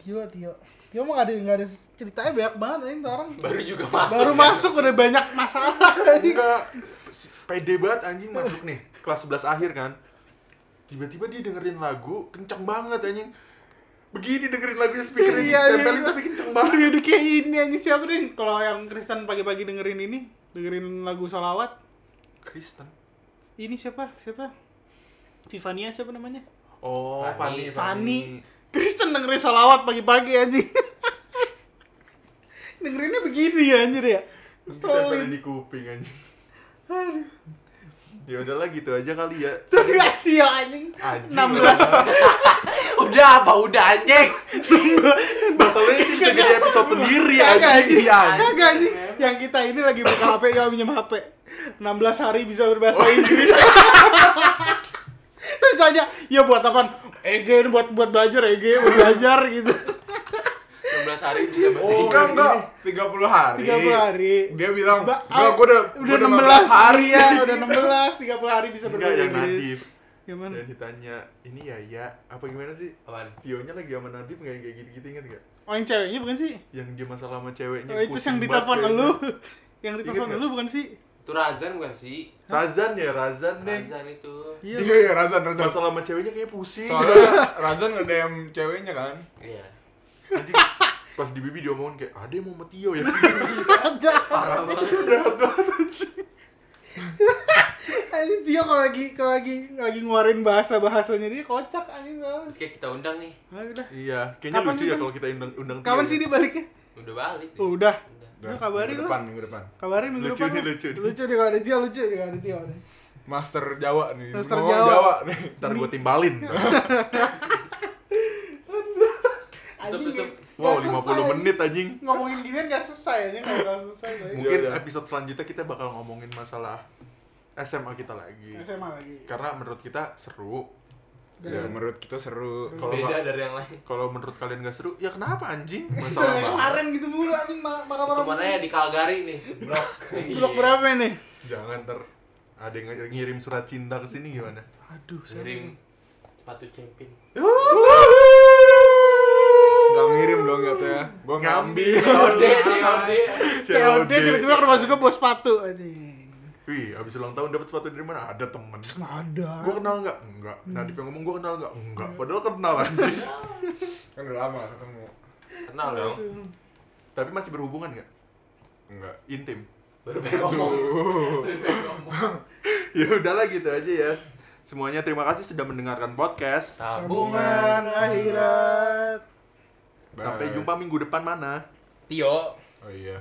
[SPEAKER 2] Iya, Tio, Tio. Tio mah gak ada, gak ada ceritanya banyak banget anjing tuh orang.
[SPEAKER 3] Baru juga masuk.
[SPEAKER 2] Baru
[SPEAKER 3] kan.
[SPEAKER 2] masuk udah banyak masalah anjing.
[SPEAKER 4] enggak si- pede banget anjing masuk nih kelas 11 akhir kan tiba-tiba dia dengerin lagu kenceng banget anjing begini dengerin lagu speaker
[SPEAKER 2] Iya, iya.
[SPEAKER 4] ditempelin tapi kenceng banget
[SPEAKER 2] Aduh aduh, kayak ini anjing siapa nih? Kalau yang Kristen pagi-pagi dengerin ini, dengerin lagu salawat.
[SPEAKER 4] Kristen
[SPEAKER 2] Ini siapa? Siapa? Tiffania siapa namanya?
[SPEAKER 4] oh
[SPEAKER 3] Fani.
[SPEAKER 4] Fani
[SPEAKER 2] Fani. Kristen dengerin salawat pagi-pagi anjing. [LAUGHS] Dengerinnya begini ya anjir ya.
[SPEAKER 4] ditempelin
[SPEAKER 2] Stolin.
[SPEAKER 4] di kuping anjing
[SPEAKER 2] Aduh.
[SPEAKER 4] ya udahlah gitu aja kali ya
[SPEAKER 2] Tuh ya Tio anjing.
[SPEAKER 4] Anjing.
[SPEAKER 2] 16
[SPEAKER 3] [LAUGHS] Udah apa udah anjing.
[SPEAKER 4] [LAUGHS] Masalahnya ini bisa jadi episode sendiri
[SPEAKER 2] Kagak
[SPEAKER 4] anjing.
[SPEAKER 2] anjing. Kagak anjing. Yang kita ini lagi buka HP, ya minjem HP. 16 hari bisa berbahasa Inggris. Terus tanya, ya buat apaan? Ege ini buat buat belajar, Ege buat belajar gitu.
[SPEAKER 3] 16 hari bisa bahasa
[SPEAKER 1] Oh,
[SPEAKER 3] Inggris.
[SPEAKER 1] enggak, enggak. 30 hari.
[SPEAKER 2] 30 hari.
[SPEAKER 1] Dia bilang,
[SPEAKER 2] Ba- eh,
[SPEAKER 1] "Enggak, gua udah
[SPEAKER 2] udah
[SPEAKER 1] gua 15
[SPEAKER 2] 16 hari ya, udah 16, 30 hari bisa
[SPEAKER 4] Enggak
[SPEAKER 2] berbahasa
[SPEAKER 4] yang
[SPEAKER 2] Inggris.
[SPEAKER 4] Nadif.
[SPEAKER 2] Gimana?
[SPEAKER 4] Dan ditanya, ini ya ya apa gimana sih?
[SPEAKER 3] Apaan?
[SPEAKER 4] Tionya lagi sama Nadif nggak yang kayak gitu-gitu inget nggak?
[SPEAKER 2] Oh yang ceweknya bukan sih?
[SPEAKER 4] Yang dia masalah sama ceweknya.
[SPEAKER 2] Oh, itu
[SPEAKER 4] pusing banget ya.
[SPEAKER 2] yang
[SPEAKER 4] gitu.
[SPEAKER 2] ditelepon
[SPEAKER 4] kayaknya.
[SPEAKER 2] lu. [LAUGHS] yang ditelepon
[SPEAKER 4] Ingat
[SPEAKER 2] lu bukan sih?
[SPEAKER 3] Itu Razan bukan sih?
[SPEAKER 4] Razan ya Razan nih.
[SPEAKER 3] Razan itu.
[SPEAKER 1] Iya,
[SPEAKER 2] Iya.
[SPEAKER 1] iya, Razan, Razan.
[SPEAKER 4] Masalah sama ceweknya kayaknya pusing.
[SPEAKER 1] Soalnya Razan nge-DM ceweknya kan.
[SPEAKER 3] Iya.
[SPEAKER 4] Anjing, Pas di bibi dia ngomongin kayak ada yang mau sama Tio
[SPEAKER 2] [LAUGHS]
[SPEAKER 4] ya.
[SPEAKER 2] Aja.
[SPEAKER 3] Parah banget.
[SPEAKER 4] Jahat banget.
[SPEAKER 2] Anjing [LAUGHS] Tio kalau lagi kalau lagi lagi ngeluarin bahasa bahasanya dia kocak anjing tau.
[SPEAKER 3] Terus kayak kita undang nih.
[SPEAKER 2] Ah, udah.
[SPEAKER 4] Iya, kayaknya
[SPEAKER 2] Kapan
[SPEAKER 4] lucu
[SPEAKER 2] sih,
[SPEAKER 4] ya
[SPEAKER 2] Bang?
[SPEAKER 4] kalau kita undang undang Tio.
[SPEAKER 2] Kapan
[SPEAKER 4] ya.
[SPEAKER 2] sih dia baliknya?
[SPEAKER 3] Udah balik.
[SPEAKER 2] Oh, udah.
[SPEAKER 3] Udah.
[SPEAKER 2] Lu kabarin
[SPEAKER 1] minggu
[SPEAKER 2] lu.
[SPEAKER 1] depan, minggu depan.
[SPEAKER 2] Kabarin minggu
[SPEAKER 4] Lucu
[SPEAKER 2] depan.
[SPEAKER 4] nih,
[SPEAKER 2] lah.
[SPEAKER 4] lucu nih.
[SPEAKER 2] Lucu nih kalau ada dia lucu nih kalau ada dia. nih.
[SPEAKER 1] Master Jawa nih.
[SPEAKER 2] Master
[SPEAKER 1] Ngomong
[SPEAKER 2] Jawa.
[SPEAKER 1] nih.
[SPEAKER 4] Ntar gue
[SPEAKER 2] [LAUGHS]
[SPEAKER 4] timbalin.
[SPEAKER 2] Anjing.
[SPEAKER 3] tutup.
[SPEAKER 2] nggak-
[SPEAKER 4] Wow, 50
[SPEAKER 2] nggak selesai.
[SPEAKER 4] menit anjing.
[SPEAKER 2] Ngomongin ginian gak selesai anjing kalau gak selesai. guys.
[SPEAKER 4] Mungkin
[SPEAKER 1] Iya, iya.
[SPEAKER 4] episode selanjutnya kita bakal ngomongin masalah SMA kita lagi.
[SPEAKER 2] SMA lagi.
[SPEAKER 4] Karena menurut kita seru.
[SPEAKER 1] Ya, menurut kita seru.
[SPEAKER 4] Kalau
[SPEAKER 3] Beda
[SPEAKER 4] nggak-
[SPEAKER 3] dari yang lain.
[SPEAKER 4] Kalau menurut kalian gak seru, ya kenapa
[SPEAKER 2] [LAUGHS]
[SPEAKER 4] anjing?
[SPEAKER 2] Itu dari
[SPEAKER 4] Masalah apa?
[SPEAKER 2] kemarin gitu mulu anjing marah- marah-marah.
[SPEAKER 3] Kemarin ya di Calgary nih.
[SPEAKER 2] [LAUGHS]
[SPEAKER 3] Blok.
[SPEAKER 2] Blok berapa nih?
[SPEAKER 4] Jangan ter ada yang ngir- ngirim surat cinta ke sini gimana?
[SPEAKER 2] Aduh,
[SPEAKER 3] Iya. Ngirim sepatu champion.
[SPEAKER 1] Gak
[SPEAKER 4] [LAUGHS]
[SPEAKER 1] ngirim dong katanya. Gua ngambil.
[SPEAKER 4] Ngambil.
[SPEAKER 3] COD, COD.
[SPEAKER 2] COD tiba-tiba ke rumah suka bawa sepatu anjing.
[SPEAKER 4] Wih, abis ulang tahun dapat sepatu dari mana? Ada temen.
[SPEAKER 2] Ada.
[SPEAKER 4] Gue kenal nggak? Enggak.
[SPEAKER 1] Hmm.
[SPEAKER 4] Nadif yang ngomong gue kenal nggak? Enggak. Padahal kenal
[SPEAKER 1] [LAUGHS]
[SPEAKER 4] anjing.
[SPEAKER 1] Kan udah lama ketemu.
[SPEAKER 3] Kenal dong.
[SPEAKER 4] Tapi masih berhubungan nggak?
[SPEAKER 1] Enggak.
[SPEAKER 4] Intim. [LAUGHS]
[SPEAKER 3] Baru pengen ngomong. Baru pengen ngomong.
[SPEAKER 4] Ya udahlah gitu aja ya. Semuanya terima kasih sudah mendengarkan podcast.
[SPEAKER 3] Tabungan
[SPEAKER 2] akhirat.
[SPEAKER 1] Bye.
[SPEAKER 4] Sampai jumpa minggu depan mana?
[SPEAKER 3] Tio.
[SPEAKER 1] Oh iya.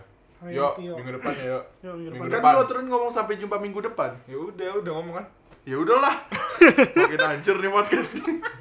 [SPEAKER 1] Yo,
[SPEAKER 2] Tio.
[SPEAKER 1] minggu depan ya, yo.
[SPEAKER 2] Yo, minggu
[SPEAKER 1] Minggu
[SPEAKER 2] depan.
[SPEAKER 4] Kan
[SPEAKER 1] depan.
[SPEAKER 4] lu aturan ngomong sampai jumpa minggu depan.
[SPEAKER 1] [LAUGHS] Ya udah, udah ngomong kan.
[SPEAKER 4] Ya udahlah. Makin hancur nih podcast.